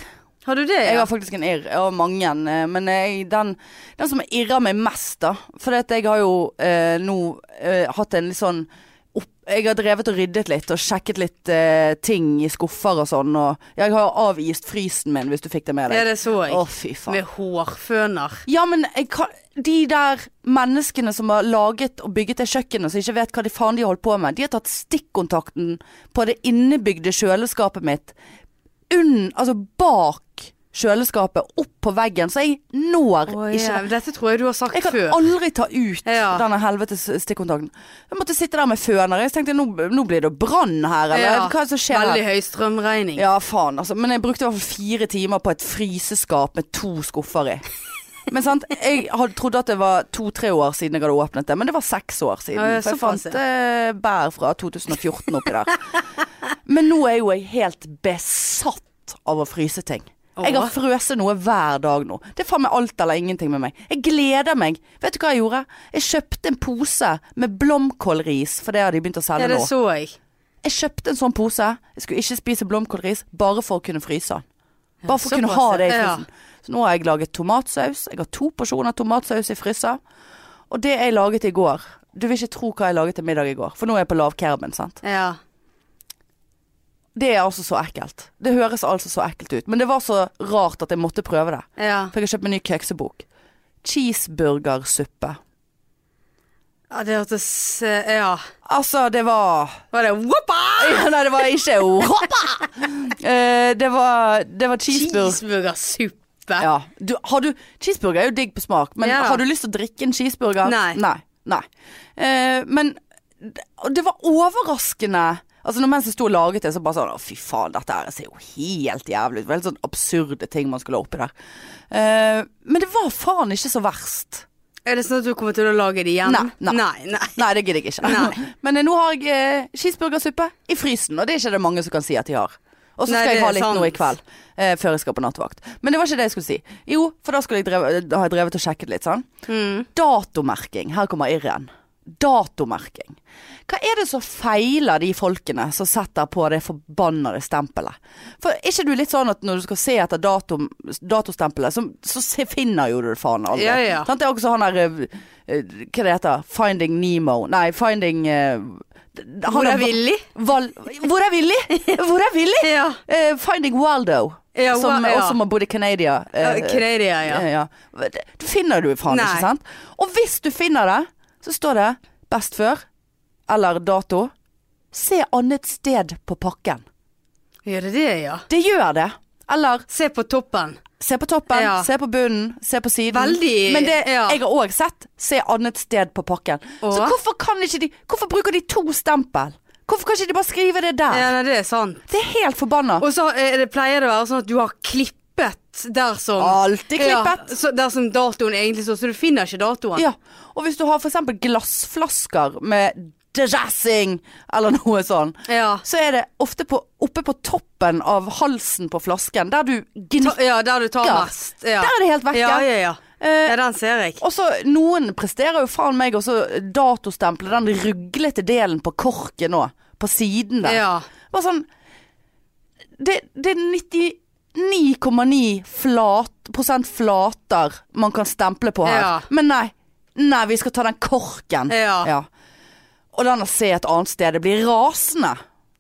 Speaker 2: Har du det?
Speaker 1: Jeg
Speaker 2: ja?
Speaker 1: har faktisk en irr, og mange, eh, men jeg, den, den som irrer meg mest, da For jeg har jo eh, nå eh, hatt en litt sånn opp, Jeg har drevet og ryddet litt og sjekket litt eh, ting i skuffer og sånn. Og jeg har avist frysen min, hvis du fikk det med
Speaker 2: Ja,
Speaker 1: deg.
Speaker 2: det så jeg.
Speaker 1: Å, fy faen.
Speaker 2: Med hårføner.
Speaker 1: Ja, men jeg kan, de der menneskene som har laget og bygget det kjøkkenet, som ikke vet hva de faen de har holdt på med, de har tatt stikkontakten på det innebygde kjøleskapet mitt unn, altså bak kjøleskapet, opp på veggen, så jeg når
Speaker 2: Å,
Speaker 1: ikke
Speaker 2: ja. Dette tror jeg du har sagt
Speaker 1: jeg kan
Speaker 2: før.
Speaker 1: aldri ta ut
Speaker 2: Ja.
Speaker 1: denne helvetes stikkontakten. Jeg måtte sitte der med føner. Jeg tenkte nå, nå blir det brann her, eller
Speaker 2: Ja,
Speaker 1: hva er det som skjer her?
Speaker 2: Veldig høy strømregning.
Speaker 1: Ja, faen altså. Men jeg brukte i hvert fall fire timer på et fryseskap med to skuffer i. Men sant, jeg hadde trodd at det var to-tre år siden jeg hadde åpnet det, men det var seks år siden.
Speaker 2: Ja, ja,
Speaker 1: for jeg
Speaker 2: såpass,
Speaker 1: fant eh, bær fra 2014 oppi der. Men nå er jo jeg helt besatt av å fryse ting. Jeg har
Speaker 2: Åh.
Speaker 1: frøset noe hver dag nå. Det er faen meg alt eller ingenting med meg. Jeg gleder meg. Vet du hva jeg gjorde? Jeg kjøpte en pose med blomkålris, for det har de begynt å
Speaker 2: Ja,
Speaker 1: selge
Speaker 2: det
Speaker 1: nå.
Speaker 2: så jeg.
Speaker 1: Jeg kjøpte en sånn pose. Jeg skulle ikke spise blomkålris, bare for å kunne fryse den. Bare for å kunne ha
Speaker 2: såpass,
Speaker 1: det i
Speaker 2: ja.
Speaker 1: frysen. Så nå har jeg laget tomatsaus. Jeg har to porsjoner tomatsaus i fryser. Og det jeg laget i går Du vil ikke tro hva jeg laget til middag i går, for nå er jeg på lavkerben, sant.
Speaker 2: Ja.
Speaker 1: Det er altså så ekkelt. Det høres altså så ekkelt ut. Men det var så rart at jeg måtte prøve det.
Speaker 2: ja.
Speaker 1: For jeg har kjøpt meg en ny køksebok. Cheeseburgersuppe.
Speaker 2: ja det hørtes eh, Ja.
Speaker 1: Altså, det var
Speaker 2: Var det Woppa!
Speaker 1: ja, Nei, det var ikke Hoppa! Eh, det var, det var cheeseburger.
Speaker 2: Cheeseburgersuppe.
Speaker 1: Ja. Du, har du, cheeseburger er jo digg på smak, men
Speaker 2: Ja.
Speaker 1: har du lyst til å drikke en cheeseburger?
Speaker 2: Nei.
Speaker 1: Nei. nei. Eh, men det, og det var overraskende. Altså når Mens jeg sto og laget det, så bare sånn Å, fy faen, dette her ser jo helt jævlig ut. Det var helt sånn absurde ting man skulle ha oppi der. Eh, men det var faen ikke så verst.
Speaker 2: Er det sånn at du kommer til å lage det igjen?
Speaker 1: Nei, nei.
Speaker 2: nei, nei.
Speaker 1: Nei, det gidder jeg ikke.
Speaker 2: Nei.
Speaker 1: Men eh, nå har jeg eh, cheeseburgersuppe i frysen, og det er ikke det mange som kan si at de har. Og så
Speaker 2: Nei,
Speaker 1: skal
Speaker 2: det
Speaker 1: jeg ha
Speaker 2: er
Speaker 1: litt
Speaker 2: sant.
Speaker 1: nå i kveld, eh, før jeg skal på nattvakt. Men det var ikke det jeg skulle si. Jo, for da, skulle jeg dreve, da har jeg drevet og sjekket litt, sånn. Datomerking. Her kommer irren. Datomerking. Hva er det som feiler de folkene som setter på det forbannede stempelet? For er ikke du litt sånn at når du skal se etter dato, datostempelet, så, så se, finner jo du det faen aldri.
Speaker 2: Ja, ja.
Speaker 1: Sant? Det er også han der eh, eh, Hva det heter Finding Nemo. Nei, Finding eh, han
Speaker 2: Hvor
Speaker 1: der-
Speaker 2: er Willy?
Speaker 1: Val Hvor er Willy? Hvor er Willy?
Speaker 2: Ja.
Speaker 1: Eh, Finding Waldo,
Speaker 2: Ja,
Speaker 1: som
Speaker 2: Wa- ja.
Speaker 1: også må bo i Canada.
Speaker 2: Ja,
Speaker 1: eh,
Speaker 2: Canada, ja.
Speaker 1: eh, ja. Det- Det finner du faen
Speaker 2: Nei.
Speaker 1: ikke, sant? Og hvis du finner det, så står det best før eller dato. Se annet sted på pakken.
Speaker 2: Gjør det det, ja?
Speaker 1: Det gjør det. Eller
Speaker 2: Se på toppen.
Speaker 1: se på toppen,
Speaker 2: Ja.
Speaker 1: se på bunnen, se på siden.
Speaker 2: Veldig,
Speaker 1: Men det
Speaker 2: ja.
Speaker 1: jeg har òg sett, se annet sted på pakken. Så
Speaker 2: Åh.
Speaker 1: hvorfor kan ikke de Hvorfor bruker de to stempel? Hvorfor kan ikke de bare skrive det der?
Speaker 2: Ja, nei, det er sant.
Speaker 1: Det er helt forbanna.
Speaker 2: Og så eh, det pleier det å være sånn at du har klippet der som
Speaker 1: Alltid klippet.
Speaker 2: Ja, så der som datoen egentlig står, så du finner ikke datoen.
Speaker 1: Ja, og hvis du har for eksempel glassflasker med dressing eller noe sånn,
Speaker 2: Ja.
Speaker 1: så er det ofte på, oppe på toppen av halsen på flasken, der du
Speaker 2: Ta,
Speaker 1: gnikker.
Speaker 2: ja, der du tar
Speaker 1: Ja.
Speaker 2: mest. Ja.
Speaker 1: Der er det helt vekke.
Speaker 2: Ja, ja, ja.
Speaker 1: Eh,
Speaker 2: ja, den ser jeg.
Speaker 1: Og så noen presterer jo faen meg også datostemple den ruglete delen på korket nå, på siden der.
Speaker 2: Ja.
Speaker 1: Bare sånn Det, det er 99,9 flat, prosent flater man kan stemple på her.
Speaker 2: Ja.
Speaker 1: Men nei. Nei, vi skal ta den korken.
Speaker 2: Ja.
Speaker 1: Og den å se et annet sted. Det blir rasende.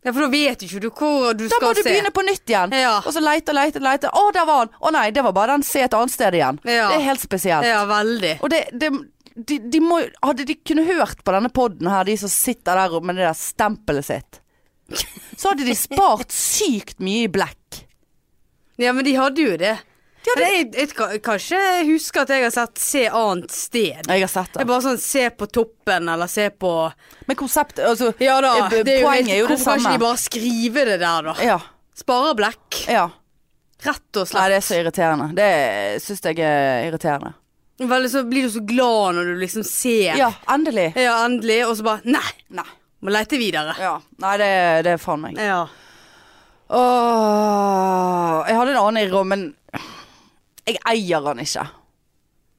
Speaker 2: Ja, for da vet ikke du hvor du
Speaker 1: Da
Speaker 2: skal
Speaker 1: må du
Speaker 2: se.
Speaker 1: begynne på nytt igjen.
Speaker 2: Ja.
Speaker 1: Og så leite, leite, leite. Å, der var han. Å nei, det var bare den. Se et annet sted igjen.
Speaker 2: Ja.
Speaker 1: Det er helt spesielt.
Speaker 2: Ja, veldig.
Speaker 1: Og det, det de, de må, hadde de kunnet hørt på denne podden her, de som sitter der med det der stempelet sitt, så hadde de spart sykt mye i blekk.
Speaker 2: Ja, men de hadde jo det.
Speaker 1: hadde-
Speaker 2: Men Jeg, jeg, kan- kanskje jeg husker at jeg har sett 'se annet sted'.
Speaker 1: Jeg har sett
Speaker 2: Det er
Speaker 1: det.
Speaker 2: bare sånn 'se på toppen', eller 'se på
Speaker 1: Men konsept, altså,
Speaker 2: Ja da,
Speaker 1: eh,
Speaker 2: det er jo
Speaker 1: poenget
Speaker 2: helt-
Speaker 1: er jo det
Speaker 2: Hvorfor kan ikke
Speaker 1: samme.
Speaker 2: de bare skrive det der, da?
Speaker 1: Ja,
Speaker 2: Sparer blekk,
Speaker 1: ja.
Speaker 2: rett
Speaker 1: Nei,
Speaker 2: og slett.
Speaker 1: det er så irriterende. Det syns jeg er irriterende.
Speaker 2: Vel, så blir du så glad når du liksom ser
Speaker 1: Ja, endelig.
Speaker 2: Ja, endelig, og så bare Nei!
Speaker 1: Nei.
Speaker 2: Må lete videre.
Speaker 1: Ja. Nei, det, det er faen meg.
Speaker 2: Ja.
Speaker 1: Åh, jeg hadde en annen irr òg, men jeg eier han ikke.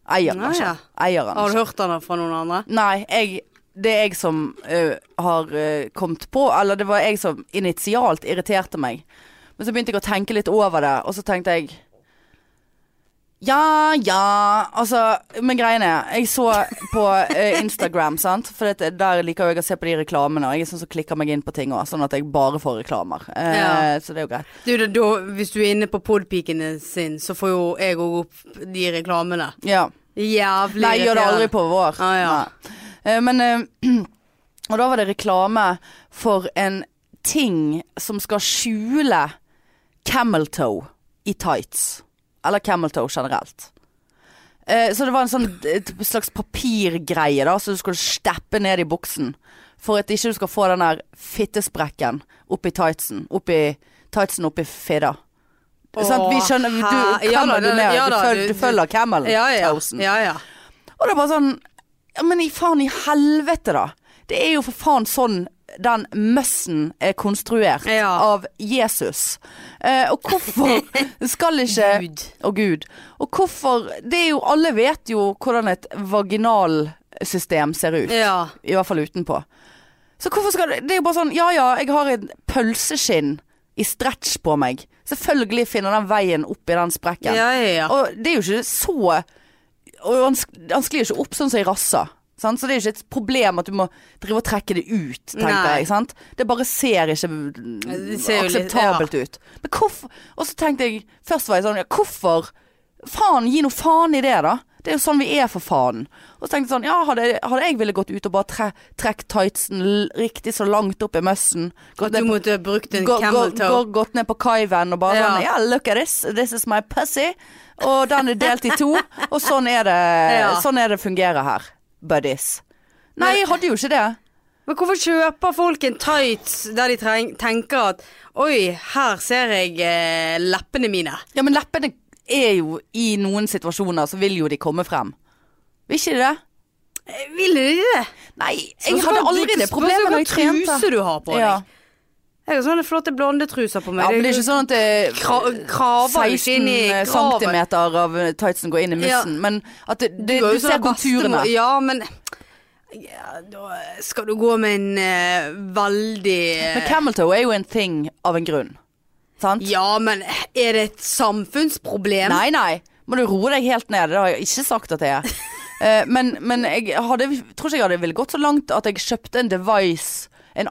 Speaker 1: Eier han
Speaker 2: Nei,
Speaker 1: ikke.
Speaker 2: ja.
Speaker 1: Eier han
Speaker 2: Har
Speaker 1: ikke.
Speaker 2: du hørt den fra noen andre?
Speaker 1: Nei, jeg, det er jeg som ø, har ø, kommet på, eller det var jeg som initialt irriterte meg. Men så begynte jeg å tenke litt over det, og så tenkte jeg Ja, ja Altså, men greien er Jeg så på eh, Instagram, sant. For dette, der liker jeg å se på de reklamene. Og jeg er sånn som klikker meg inn på ting òg, sånn at jeg bare får reklamer. Eh,
Speaker 2: Ja.
Speaker 1: Så det er jo greit.
Speaker 2: Du, da, da, hvis du er inne på podpikene sin, så får jo jeg òg opp de reklamene.
Speaker 1: Ja.
Speaker 2: Jævlig
Speaker 1: Nei, jeg gjør det aldri på vår.
Speaker 2: Ah, ja.
Speaker 1: Nei. Eh, Men eh, Og da var det reklame for en ting som skal skjule camel toe i tights. Eller camel toe generelt. Eh, Så det var en sånn et slags papirgreie da, som du skulle stappe ned i buksen. For at ikke du skal få den der fittesprekken oppi tightsen. Oppi tightsen oppi fidda. Sant? Vi skjønner, du,
Speaker 2: Åh, hæ- Ja da,
Speaker 1: camel, du,
Speaker 2: det-
Speaker 1: ned,
Speaker 2: ja
Speaker 1: du,
Speaker 2: da,
Speaker 1: følger,
Speaker 2: du-
Speaker 1: du følger camel
Speaker 2: Ja ja.
Speaker 1: toesen.
Speaker 2: ja, ja.
Speaker 1: Og det er bare sånn Ja, men i faen i helvete, da. Det er jo for faen sånn den møssen er konstruert
Speaker 2: Ja.
Speaker 1: av Jesus. Eh, og hvorfor skal ikke
Speaker 2: Gud.
Speaker 1: Og Gud. Og hvorfor Det er jo Alle vet jo hvordan et vaginalsystem ser ut.
Speaker 2: ja.
Speaker 1: I hvert fall utenpå. Så hvorfor skal det Det er jo bare sånn Ja ja, jeg har et pølseskinn i stretch på meg. Selvfølgelig finner den veien opp i den sprekken.
Speaker 2: Ja, ja, ja.
Speaker 1: Og det er jo ikke så Og han, sk- han sklir jo ikke opp sånn som i rassa. Sant? Så det er jo ikke et problem at du må drive og trekke det ut, tenker
Speaker 2: Nei.
Speaker 1: jeg. Sant? Det bare ser ikke mm,
Speaker 2: det ser jo litt-
Speaker 1: akseptabelt ut. Men hvorfor Og så tenkte jeg Først var jeg sånn ja, Hvorfor? Faen, gi noe faen i det, da. Det er jo sånn vi er, for faen. Og så tenkte jeg sånn Ja, hadde, hadde jeg ville gått ut og bare tre, trekk tightsen l- riktig så langt opp i møssen
Speaker 2: At du måtte ha brukt en
Speaker 1: Gå-
Speaker 2: camel
Speaker 1: gå-
Speaker 2: toe.
Speaker 1: gå- Gått ned på kaiven og bare
Speaker 2: Ja.
Speaker 1: sånn Ja, look at this, this is my pussy. Og den er delt i to. Og sånn er det
Speaker 2: Ja.
Speaker 1: Sånn er det fungerer her, buddies. Nei, jeg hadde jo ikke det.
Speaker 2: Men hvorfor kjøper folk en tights der de treng, tenker at Oi, her ser jeg eh, leppene mine.
Speaker 1: Ja, men leppene er jo I noen situasjoner så vil jo de komme frem. Vil ikke de det?
Speaker 2: Eh, Vil de det?
Speaker 1: Nei, jeg hadde aldri det problemet da jeg
Speaker 2: Spørs
Speaker 1: trente.
Speaker 2: hva truse du har på
Speaker 1: Ja.
Speaker 2: deg. Jeg har sånne flotte blondetruser på meg.
Speaker 1: Ja, men det er ikke sånn at det-
Speaker 2: Kra kraver jo ikke inn i
Speaker 1: 16
Speaker 2: kraven.
Speaker 1: centimeter av eh, tightsen går inn i
Speaker 2: Ja.
Speaker 1: mussen, men at det, det,
Speaker 2: har
Speaker 1: du
Speaker 2: jo
Speaker 1: ser
Speaker 2: sånn
Speaker 1: konturene.
Speaker 2: bestemor- Ja, men ja, da skal du gå med en eh, veldig eh,
Speaker 1: Men camel toe er jo en thing av en grunn. Sant?
Speaker 2: Ja, men er det et samfunnsproblem?
Speaker 1: Nei, nei. Må du roe deg helt ned. Det har jeg ikke sagt at jeg er. Eh, Men, men jeg hadde, tror ikke jeg hadde ville gått så langt at jeg kjøpte en device, en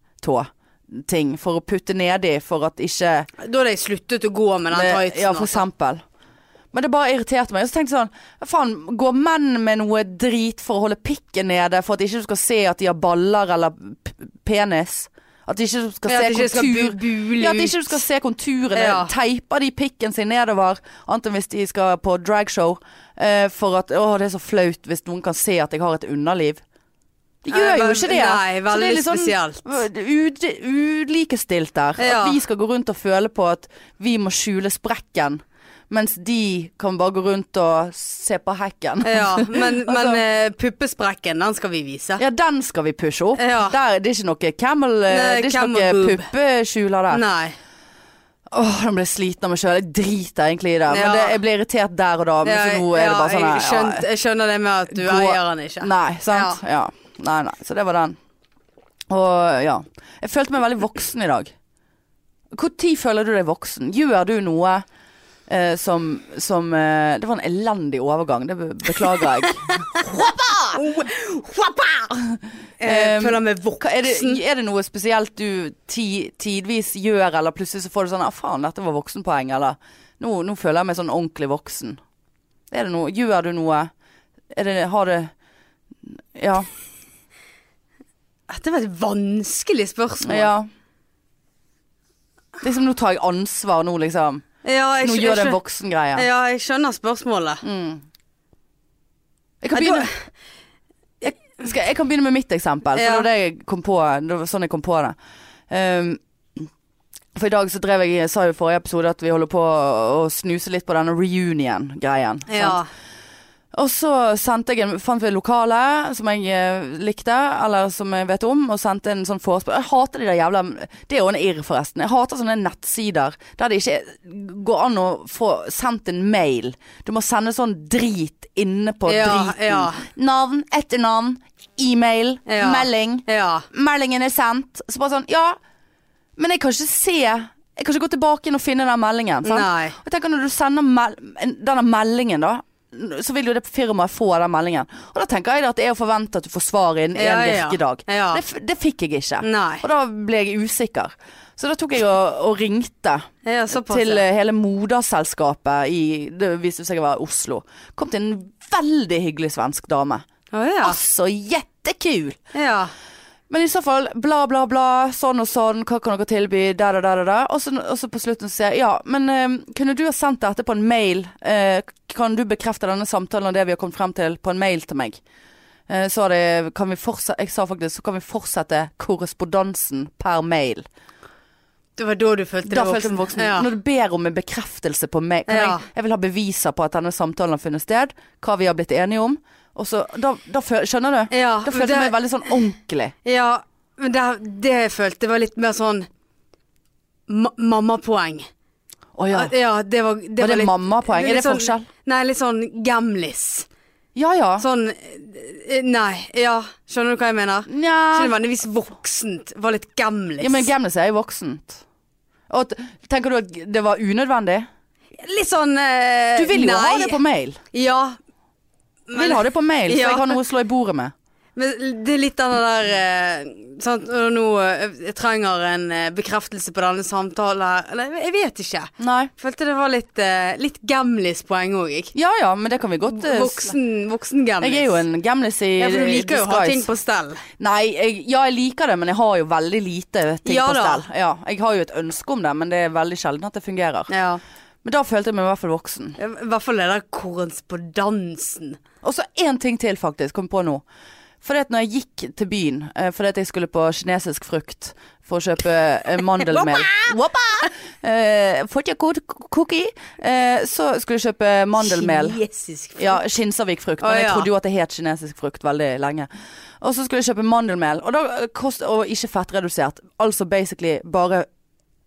Speaker 1: antikameltå-ting, for å putte nedi for at ikke
Speaker 2: Da hadde jeg sluttet å gå med den
Speaker 1: det,
Speaker 2: tightsen.
Speaker 1: Ja, for
Speaker 2: altså.
Speaker 1: eksempel. Men det bare irriterte meg. Og så tenkte jeg sånn Faen, går menn med noe drit for å holde pikken nede, for at ikke du skal se at de har baller eller p- penis? At de ikke skal
Speaker 2: Ja,
Speaker 1: se
Speaker 2: at det ikke skal
Speaker 1: kontur
Speaker 2: bu- bule
Speaker 1: Ja, at
Speaker 2: ut.
Speaker 1: ikke du skal se konturene.
Speaker 2: Ja.
Speaker 1: Teiper de pikken sin nedover, annet enn hvis de skal på dragshow, eh, for at Å, det er så flaut hvis noen kan se at jeg har et underliv. De gjør
Speaker 2: Nei,
Speaker 1: jo
Speaker 2: vel-
Speaker 1: ikke det. Så det
Speaker 2: nei,
Speaker 1: er
Speaker 2: veldig
Speaker 1: litt sånn
Speaker 2: spesielt.
Speaker 1: Ud, ulikestilt der.
Speaker 2: Ja.
Speaker 1: At vi skal gå rundt og føle på at vi må skjule sprekken, mens de kan bare gå rundt og se på hekken.
Speaker 2: Ja, men,
Speaker 1: Altså-
Speaker 2: men eh, puppesprekken, den skal vi vise.
Speaker 1: Ja, den skal vi pushe opp.
Speaker 2: Ja.
Speaker 1: Der, det er ikke noe camel eh,
Speaker 2: Nei,
Speaker 1: Det er ikke
Speaker 2: camel
Speaker 1: noe
Speaker 2: boob.
Speaker 1: puppeskjuler der.
Speaker 2: Nei.
Speaker 1: Åh, nå ble jeg sliten av meg sjøl. Jeg driter egentlig i det. Men
Speaker 2: Ja.
Speaker 1: det, jeg ble irritert der og da, men så nå er det bare sånn
Speaker 2: jeg,
Speaker 1: her,
Speaker 2: skjønt, jeg skjønner det med at du
Speaker 1: Gå-
Speaker 2: eier den ikke.
Speaker 1: Nei, sant? Ja. Nei, nei. Så det var den. Og ja. Jeg følte meg veldig voksen i dag. Når føler du deg voksen? Gjør du noe eh, som, som eh, Det var en elendig overgang, det be- beklager jeg.
Speaker 2: Jeg
Speaker 1: Um,
Speaker 2: Oh, føler meg
Speaker 1: Hva, er, det,
Speaker 2: voksen.
Speaker 1: er det noe spesielt du ti, tidvis gjør, eller plutselig så får du sånn ah, 'faen, dette var voksenpoeng', eller nå, 'nå føler jeg meg sånn ordentlig voksen'? Er det noe, gjør du noe? Er det, har det Ja.
Speaker 2: Dette var et vanskelig spørsmål.
Speaker 1: Ja. Liksom nå tar jeg ansvar nå, liksom.
Speaker 2: Ja, jeg,
Speaker 1: Nå gjør det
Speaker 2: skj- jeg,
Speaker 1: en
Speaker 2: skjønner,
Speaker 1: voksengreie.
Speaker 2: ja, jeg skjønner spørsmålet.
Speaker 1: Jeg kan
Speaker 2: Ja, da-
Speaker 1: begynne jeg, skal, jeg kan begynne med mitt eksempel, for
Speaker 2: Ja.
Speaker 1: det var det jeg kom på. Det var sånn jeg kom på det. Um, for i dag så drev jeg, jeg sa jo i forrige episode at vi holder på å snuse litt på denne reunion-greien. sant?
Speaker 2: Ja.
Speaker 1: Og så sendte jeg en, fant vi et lokale som jeg eh, likte, eller som jeg vet om, og sendte en sånn forespørsel. Jeg hater de der jævla Det er jo en irr, forresten. Jeg hater sånne nettsider der det ikke går an å få sendt en mail. Du må sende sånn drit inne på
Speaker 2: Ja,
Speaker 1: driten.
Speaker 2: ja.
Speaker 1: Navn, etternavn, e-mail,
Speaker 2: Ja.
Speaker 1: melding
Speaker 2: ja.
Speaker 1: meldingen er sendt. Så bare sånn, ja, men jeg kan ikke se Jeg kan ikke gå tilbake inn og finne den meldingen. Sant?
Speaker 2: Nei.
Speaker 1: Og jeg tenker når du sender mel en- denne meldingen da så vil jo det firmaet få den meldingen. Og da tenker jeg da at det er å forvente at du får svar innen én
Speaker 2: Ja, ja.
Speaker 1: virkedag.
Speaker 2: Ja.
Speaker 1: Det, f- det fikk jeg ikke.
Speaker 2: Nei.
Speaker 1: Og da ble jeg usikker. Så da tok jeg og, og ringte
Speaker 2: Ja, såpass.
Speaker 1: til
Speaker 2: ja.
Speaker 1: eh, hele moderselskapet i Det viste seg å være Oslo. Kom til en veldig hyggelig svensk dame.
Speaker 2: Å ja.
Speaker 1: Altså, jettekul!
Speaker 2: ja.
Speaker 1: Men i så fall, bla, bla, bla, sånn og sånn, hva kan dere tilby, der og der og der. Og så, og så på slutten sier jeg ja, men eh, kunne du ha sendt dette på en mail? Eh, kan du bekrefte denne samtalen og det vi har kommet frem til, på en mail til meg? Eh, så har det, kan vi fortsette, jeg sa faktisk, så kan vi fortsette korrespondansen per mail.
Speaker 2: Det var da du følte
Speaker 1: Da
Speaker 2: deg
Speaker 1: følte jeg meg voksen.
Speaker 2: Ja.
Speaker 1: Når du ber om en bekreftelse på meg kan
Speaker 2: Ja.
Speaker 1: jeg, jeg vil ha beviser på at denne samtalen har funnet sted, hva vi har blitt enige om. Og så, da, da føl, skjønner du?
Speaker 2: Ja,
Speaker 1: da
Speaker 2: men
Speaker 1: følte jeg meg veldig sånn ordentlig.
Speaker 2: ja, men det, det jeg følte var litt mer sånn ma mammapoeng.
Speaker 1: Å ja.
Speaker 2: ja, det var, det
Speaker 1: Var det
Speaker 2: litt-
Speaker 1: mammapoeng? Er
Speaker 2: litt
Speaker 1: det
Speaker 2: sånn-
Speaker 1: forskjell?
Speaker 2: Nei, litt sånn gamlis.
Speaker 1: Ja ja.
Speaker 2: Sånn eh, Nei, ja. Skjønner du hva jeg mener? Ikke
Speaker 1: Nja
Speaker 2: nødvendigvis voksent. Var litt gamlis.
Speaker 1: ja, Men gamlis er jo voksent. Og t- tenker du at det var unødvendig?
Speaker 2: litt sånn eh,
Speaker 1: Du vil jo
Speaker 2: nei.
Speaker 1: ha det på mail.
Speaker 2: Ja.
Speaker 1: vil ha det på mail, så
Speaker 2: Ja.
Speaker 1: jeg har noe å slå i bordet med.
Speaker 2: Men det er litt den der eh, sant, og Nå eh, jeg trenger en eh, bekreftelse på denne samtalen her. Eller jeg vet ikke.
Speaker 1: Nei.
Speaker 2: Følte det var litt, eh, litt gamlis-poeng òg, jeg.
Speaker 1: Ja ja, men det kan vi godt eh, s-
Speaker 2: Voksen, voksen gamlis.
Speaker 1: Jeg er jo en gamlis i
Speaker 2: ja, for du
Speaker 1: i
Speaker 2: liker jo å ha
Speaker 1: disguise.
Speaker 2: ting på stell.
Speaker 1: Nei, jeg, ja jeg liker det, men jeg har jo veldig lite ting
Speaker 2: Ja
Speaker 1: på
Speaker 2: da.
Speaker 1: stell. Ja, jeg har jo et ønske om det, men det er veldig sjelden at det fungerer.
Speaker 2: Ja.
Speaker 1: Men da følte jeg meg i hvert fall voksen.
Speaker 2: I hvert fall den der korrespondansen.
Speaker 1: Og så én ting til, faktisk, kom på nå. For at når jeg gikk til byen eh, fordi at jeg skulle på kinesisk frukt for å kjøpe eh, mandelmel Woppa! Eh, Fått jeg kod- cookie? Eh, så skulle jeg kjøpe mandelmel.
Speaker 2: Kinesisk frukt.
Speaker 1: Ja, Skinsavik-frukt. Men
Speaker 2: Å,
Speaker 1: jeg
Speaker 2: ja.
Speaker 1: trodde jo at det het kinesisk frukt veldig lenge. Og så skulle jeg kjøpe mandelmel, og, da eh, kost, og ikke fettredusert. Altså basically bare,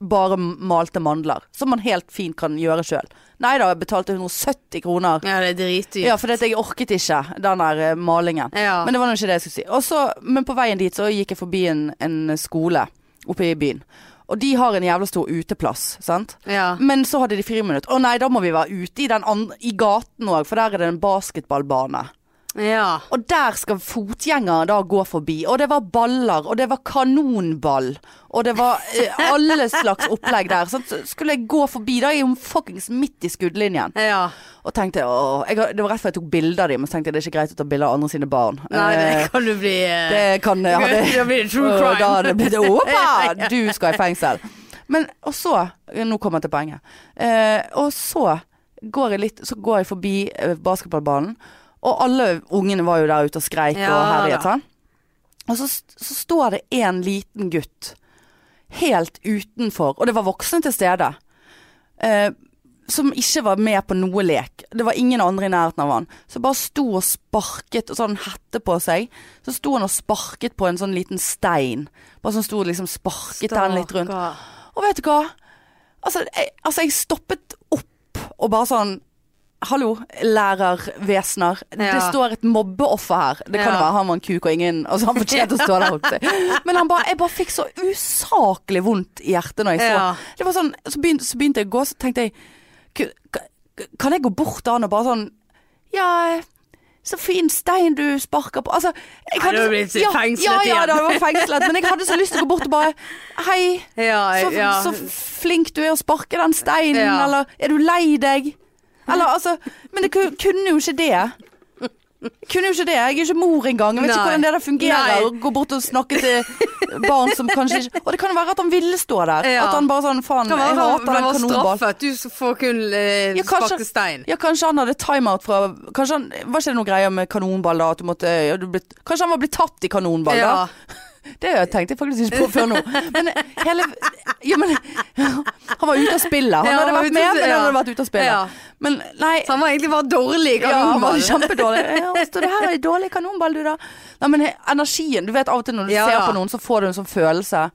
Speaker 1: bare malte mandler. Som man helt fint kan gjøre sjøl. Nei da, jeg betalte 170 kroner.
Speaker 2: Ja, det er dritdyrt.
Speaker 1: Ja, fordi at jeg orket ikke den der eh, malingen.
Speaker 2: Ja.
Speaker 1: Men det var nå ikke det jeg skulle si. Og så- men på veien dit så gikk jeg forbi en, en skole oppe i byen. Og de har en jævla stor uteplass, sant.
Speaker 2: Ja.
Speaker 1: Men så hadde de friminutt. Å nei, da må vi være ute i, den andre, i gaten òg, for der er det en basketballbane.
Speaker 2: ja.
Speaker 1: Og der skal fotgjengere da gå forbi. Og det var baller, og det var kanonball. Og det var eh, alle slags opplegg der. Sant? Så skulle jeg gå forbi, da er jeg jo fuckings midt i skuddlinjen.
Speaker 2: ja.
Speaker 1: Og tenkte åh, jeg, har- Det var rett før jeg tok bilde av dem, men så tenkte jeg det er ikke greit å ta bilde av andre sine barn.
Speaker 2: Nei,
Speaker 1: Eh,
Speaker 2: det kan du bli eh,
Speaker 1: det kan jeg hadde,
Speaker 2: Da blir det true
Speaker 1: Og
Speaker 2: crime.
Speaker 1: Da hadde det blitt Oppa! Du skal i fengsel. Men og så Nå kommer jeg til poenget. Eh, og så går jeg litt Så går jeg forbi eh, basketballbanen, og alle ungene var jo der ute og skreik og
Speaker 2: Ja, da.
Speaker 1: herjet. sant? Og så, så står det en liten gutt helt utenfor, og det var voksne til stede, eh, som ikke var med på noe lek. Det var ingen andre i nærheten av han. Så bare sto og sparket, og så hadde han hette på seg. Så sto han og sparket på en sånn liten stein. Bare sånn sto og liksom sparket den litt rundt.
Speaker 2: Stakkar.
Speaker 1: Og vet du hva? Altså jeg, altså, jeg stoppet opp og bare sånn Hallo, lærervesener. Det
Speaker 2: Ja.
Speaker 1: står et mobbeoffer her. Det kan jo
Speaker 2: Ja.
Speaker 1: være han var en kuk og ingen Altså, han fortjente å stå der. holdt jeg på å si. Men han bare, jeg bare fikk så usaklig vondt i hjertet når jeg så
Speaker 2: Ja.
Speaker 1: Det var sånn, så begynte, så begynte jeg å gå, så tenkte jeg "Ku- ka- Kan jeg gå bort til han og bare sånn Ja, så fin stein du sparker på Altså, jeg
Speaker 2: Nei, da blir
Speaker 1: så-
Speaker 2: det
Speaker 1: ja,
Speaker 2: fengslet
Speaker 1: ja, ja,
Speaker 2: igjen.
Speaker 1: da var jeg fengslet. Men jeg hadde så lyst til å gå bort og bare Hei.
Speaker 2: Ja,
Speaker 1: Så,
Speaker 2: ja.
Speaker 1: så flink du er å sparke den steinen,
Speaker 2: Ja.
Speaker 1: eller er du lei deg? Eller altså Men jeg ku- kunne jo ikke det. Jeg kunne jo ikke det. Jeg er ikke mor engang. Jeg vet
Speaker 2: Nei.
Speaker 1: ikke hvordan det der fungerer.
Speaker 2: Nei.
Speaker 1: Å gå bort og snakke til barn som kanskje ikke Og det kan jo være at han ville stå der.
Speaker 2: Ja.
Speaker 1: At han bare sånn Faen,
Speaker 2: Kan være
Speaker 1: jeg
Speaker 2: han
Speaker 1: hater den
Speaker 2: var
Speaker 1: kanonballen.
Speaker 2: straffet. Du får kun eh,
Speaker 1: Ja, kanskje-
Speaker 2: sparke stein.
Speaker 1: Ja, kanskje han hadde timeout fra Kanskje han, Var ikke det noe greier med kanonball da? At du måtte ja, du ble, Kanskje han var blitt tatt i kanonball da?
Speaker 2: Ja.
Speaker 1: Det tenkte jeg faktisk ikke på før nå. Men hele ja, men, Han var ute av spillet. Han
Speaker 2: Ja, han
Speaker 1: hadde
Speaker 2: var
Speaker 1: vært
Speaker 2: ute
Speaker 1: med,
Speaker 2: av-
Speaker 1: men
Speaker 2: ja.
Speaker 1: han hadde vært ute av spillet.
Speaker 2: Ja.
Speaker 1: Men nei
Speaker 2: Så han var egentlig bare dårlig i
Speaker 1: ja, han var
Speaker 2: kanonball.
Speaker 1: kjempedårlig. Ja, står du her og er dårlig kanonball, du da? Nei, men he- energien Du vet av og til når du
Speaker 2: Ja,
Speaker 1: ser
Speaker 2: ja.
Speaker 1: på noen, så får du en sånn følelse.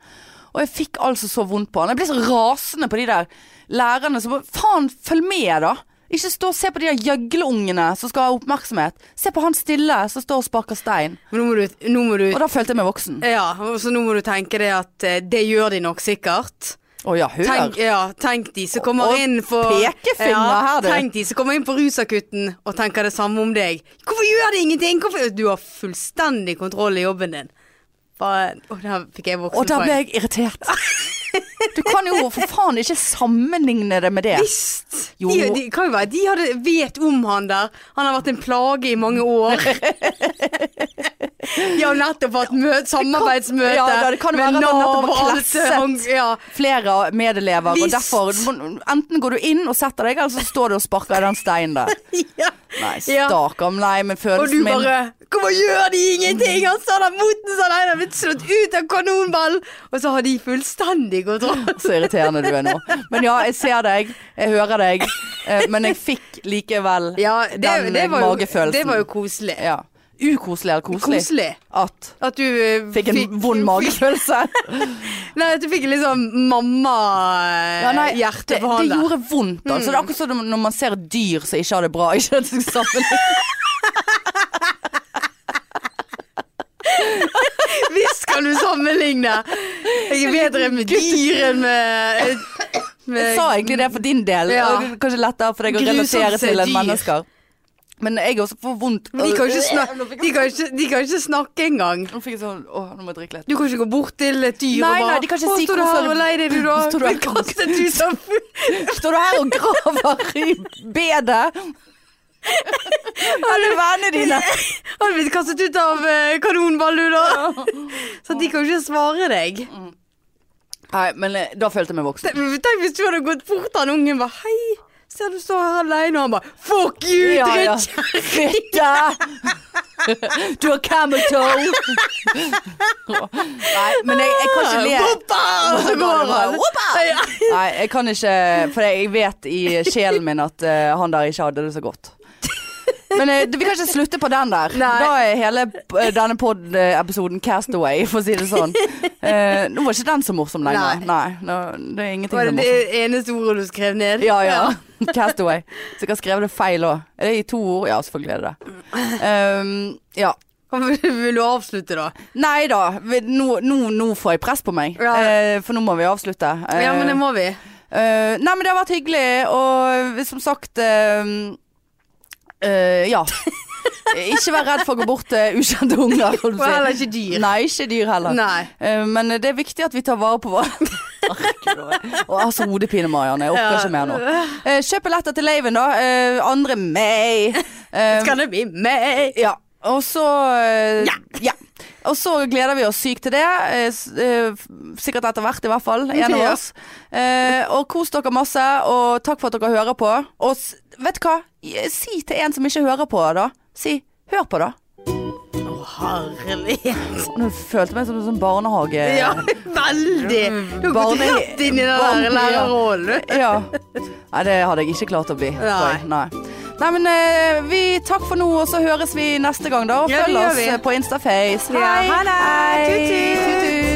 Speaker 1: Og jeg fikk altså så vondt på han. Jeg ble så rasende på de der lærerne som bare, Faen, følg med, da! Ikke stå og se på de der gjøgleungene som skal ha oppmerksomhet. Se på han stille som står og sparker stein.
Speaker 2: Men nå må du, nå må du Eh,
Speaker 1: Og da følte jeg meg voksen.
Speaker 2: Ja, og så nå må du tenke det at eh, det gjør de nok sikkert.
Speaker 1: Å Å ja, hør.
Speaker 2: Tenk, ja, tenk de som kommer
Speaker 1: Og- og
Speaker 2: inn for
Speaker 1: pekefinger her, du.
Speaker 2: Tenk de som kommer inn på rusakutten og tenker det samme om deg. Hvorfor gjør de ingenting? Hvorfor? Du har fullstendig kontroll i jobben din. Bare, og der fikk jeg
Speaker 1: Og da
Speaker 2: voksenpoeng.
Speaker 1: ble jeg irritert. Du kan jo for faen ikke sammenligne det med det.
Speaker 2: Visst!
Speaker 1: Jo.
Speaker 2: De, de, kan jo være, de hadde, vet om han der. Han har vært en plage i mange år. de har nettopp hatt møt, samarbeidsmøte
Speaker 1: Ja, det kan jo være at han nettopp har klasset.
Speaker 2: Ja,
Speaker 1: Flere av medelever, og
Speaker 2: Visst.
Speaker 1: derfor Enten går du inn og setter deg, eller så står du og sparker i den steinen der.
Speaker 2: ja.
Speaker 1: Nei,
Speaker 2: Ja.
Speaker 1: stakkar. Nei, men
Speaker 2: Og du
Speaker 1: følelsen min
Speaker 2: bare Hvorfor gjør de ingenting? Han sa der moten sa nei, han er blitt slått ut av kanonball. Og så har de fullstendig kontroll.
Speaker 1: Så irriterende du er nå. Men ja, jeg ser deg, jeg hører deg, eh, men jeg fikk likevel
Speaker 2: Ja, det,
Speaker 1: den
Speaker 2: det var jo,
Speaker 1: magefølelsen.
Speaker 2: Det var jo koselig.
Speaker 1: ja. Ukoselig eller koselig?
Speaker 2: Koselig.
Speaker 1: At
Speaker 2: At du eh,
Speaker 1: fikk en vond magefølelse.
Speaker 2: fikk- Nei, at du fikk litt sånn
Speaker 1: Ja, nei,
Speaker 2: mamma-hjerte
Speaker 1: det,
Speaker 2: på han
Speaker 1: det
Speaker 2: der.
Speaker 1: gjorde vondt. Altså, det er akkurat som når- når man ser et dyr som ikke har det bra. Ikke at det skal sammenligne.
Speaker 2: Visst kan du sammenligne. Jeg er bedre med dyr enn med, med
Speaker 1: Jeg sa egentlig det for din del.
Speaker 2: Ja.
Speaker 1: og det er Kanskje lettere for deg å
Speaker 2: Grusomt
Speaker 1: relatere til enn
Speaker 2: dyr.
Speaker 1: mennesker. Men jeg også får vondt.
Speaker 2: Men de kan jo ikke, snak de kan ikke, de kan ikke snakke engang.
Speaker 1: Nå fikk jeg sånn Åh, nå må jeg drikke litt.
Speaker 2: Du kan ikke gå bort til et dyr
Speaker 1: Nei,
Speaker 2: og bare
Speaker 1: nei, de kan ikke
Speaker 2: «Å,
Speaker 1: si
Speaker 2: står du
Speaker 1: hvorfor
Speaker 2: her
Speaker 1: du-
Speaker 2: og leier deg, du da?
Speaker 1: Står du her-
Speaker 2: kastet du som
Speaker 1: Står du her og graver i bedet? Alle vennene dine.
Speaker 2: Har du blitt kastet ut av eh, kanonball, du da? Så de kan jo ikke svare deg.
Speaker 1: Mm. Nei, men eh, da følte jeg meg voksen.
Speaker 2: Tenk tenk hvis du hadde gått bort til han ungen og bare Hei, ser du står her alene? Og han bare Fuck you,
Speaker 1: Ja, ja.
Speaker 2: drittkjerring!
Speaker 1: Fitte! Du har camel toe! Nei, men jeg, jeg kan ikke le.
Speaker 2: Poppa! Og så går han. Ja.
Speaker 1: Nei, jeg kan ikke For jeg vet i sjelen min at eh, han der ikke hadde det så godt. Men eh, vi kan ikke slutte på den der.
Speaker 2: Nei.
Speaker 1: Da er hele eh, denne pod-episoden castaway, for å si det sånn. Eh, nå var ikke den så morsom lenger.
Speaker 2: Nei.
Speaker 1: Nei, nå- det er ingenting
Speaker 2: Var
Speaker 1: som er
Speaker 2: det
Speaker 1: morsomt.
Speaker 2: det eneste ordet du skrev ned?
Speaker 1: Ja, ja. Castaway. Så jeg har skrevet det feil òg. Er det i to ord? Ja, selvfølgelig er det det. Um, ja.
Speaker 2: Vil du avslutte, da?
Speaker 1: Nei da, vi- nå, nå, nå får jeg press på meg.
Speaker 2: Ja.
Speaker 1: Eh, for nå må vi avslutte. Eh,
Speaker 2: Ja, men det må vi.
Speaker 1: eh, nei, men det har vært hyggelig, og som sagt eh, eh, Ja. Ikke vær redd for å gå bort til ukjente unger. holdt jeg på å
Speaker 2: Og
Speaker 1: si.
Speaker 2: heller ikke dyr.
Speaker 1: Nei, ikke dyr heller.
Speaker 2: Nei.
Speaker 1: Eh, Men det er viktig at vi tar vare på våre Og altså hodepine, Marianne. Jeg orker
Speaker 2: Ja.
Speaker 1: ikke mer nå. Eh, Kjøp billetter til Laven, da. Eh, 2. mai. Eh,
Speaker 2: Skal det bli meg?
Speaker 1: ja. Og så eh,
Speaker 2: Ja.
Speaker 1: ja. Og så gleder vi oss sykt til det. eh, s- eh, f- Sikkert etter hvert, i hvert fall. En av
Speaker 2: Ja.
Speaker 1: oss. Eh, Og kos dere masse, og takk for at dere hører på. Og s- vet du hva? Si til en som ikke hører på, da. Si 'hør på', da.
Speaker 2: Å, herlighet.
Speaker 1: Nå følte jeg meg som en sånn barnehage...
Speaker 2: Ja, veldig. Du har gått
Speaker 1: Barne-
Speaker 2: rett inn i den der
Speaker 1: barne-
Speaker 2: lærerrollen.
Speaker 1: Ja. Nei, det hadde jeg ikke klart å bli. tror jeg. Nei. Nei, men eh, vi takk for nå, og så høres vi neste gang, da. Og
Speaker 2: Ja, det
Speaker 1: følg
Speaker 2: gjør
Speaker 1: oss
Speaker 2: vi.
Speaker 1: eh, på Instaface.
Speaker 2: Ja, ha det. Tut, tut.
Speaker 1: Tut, tut.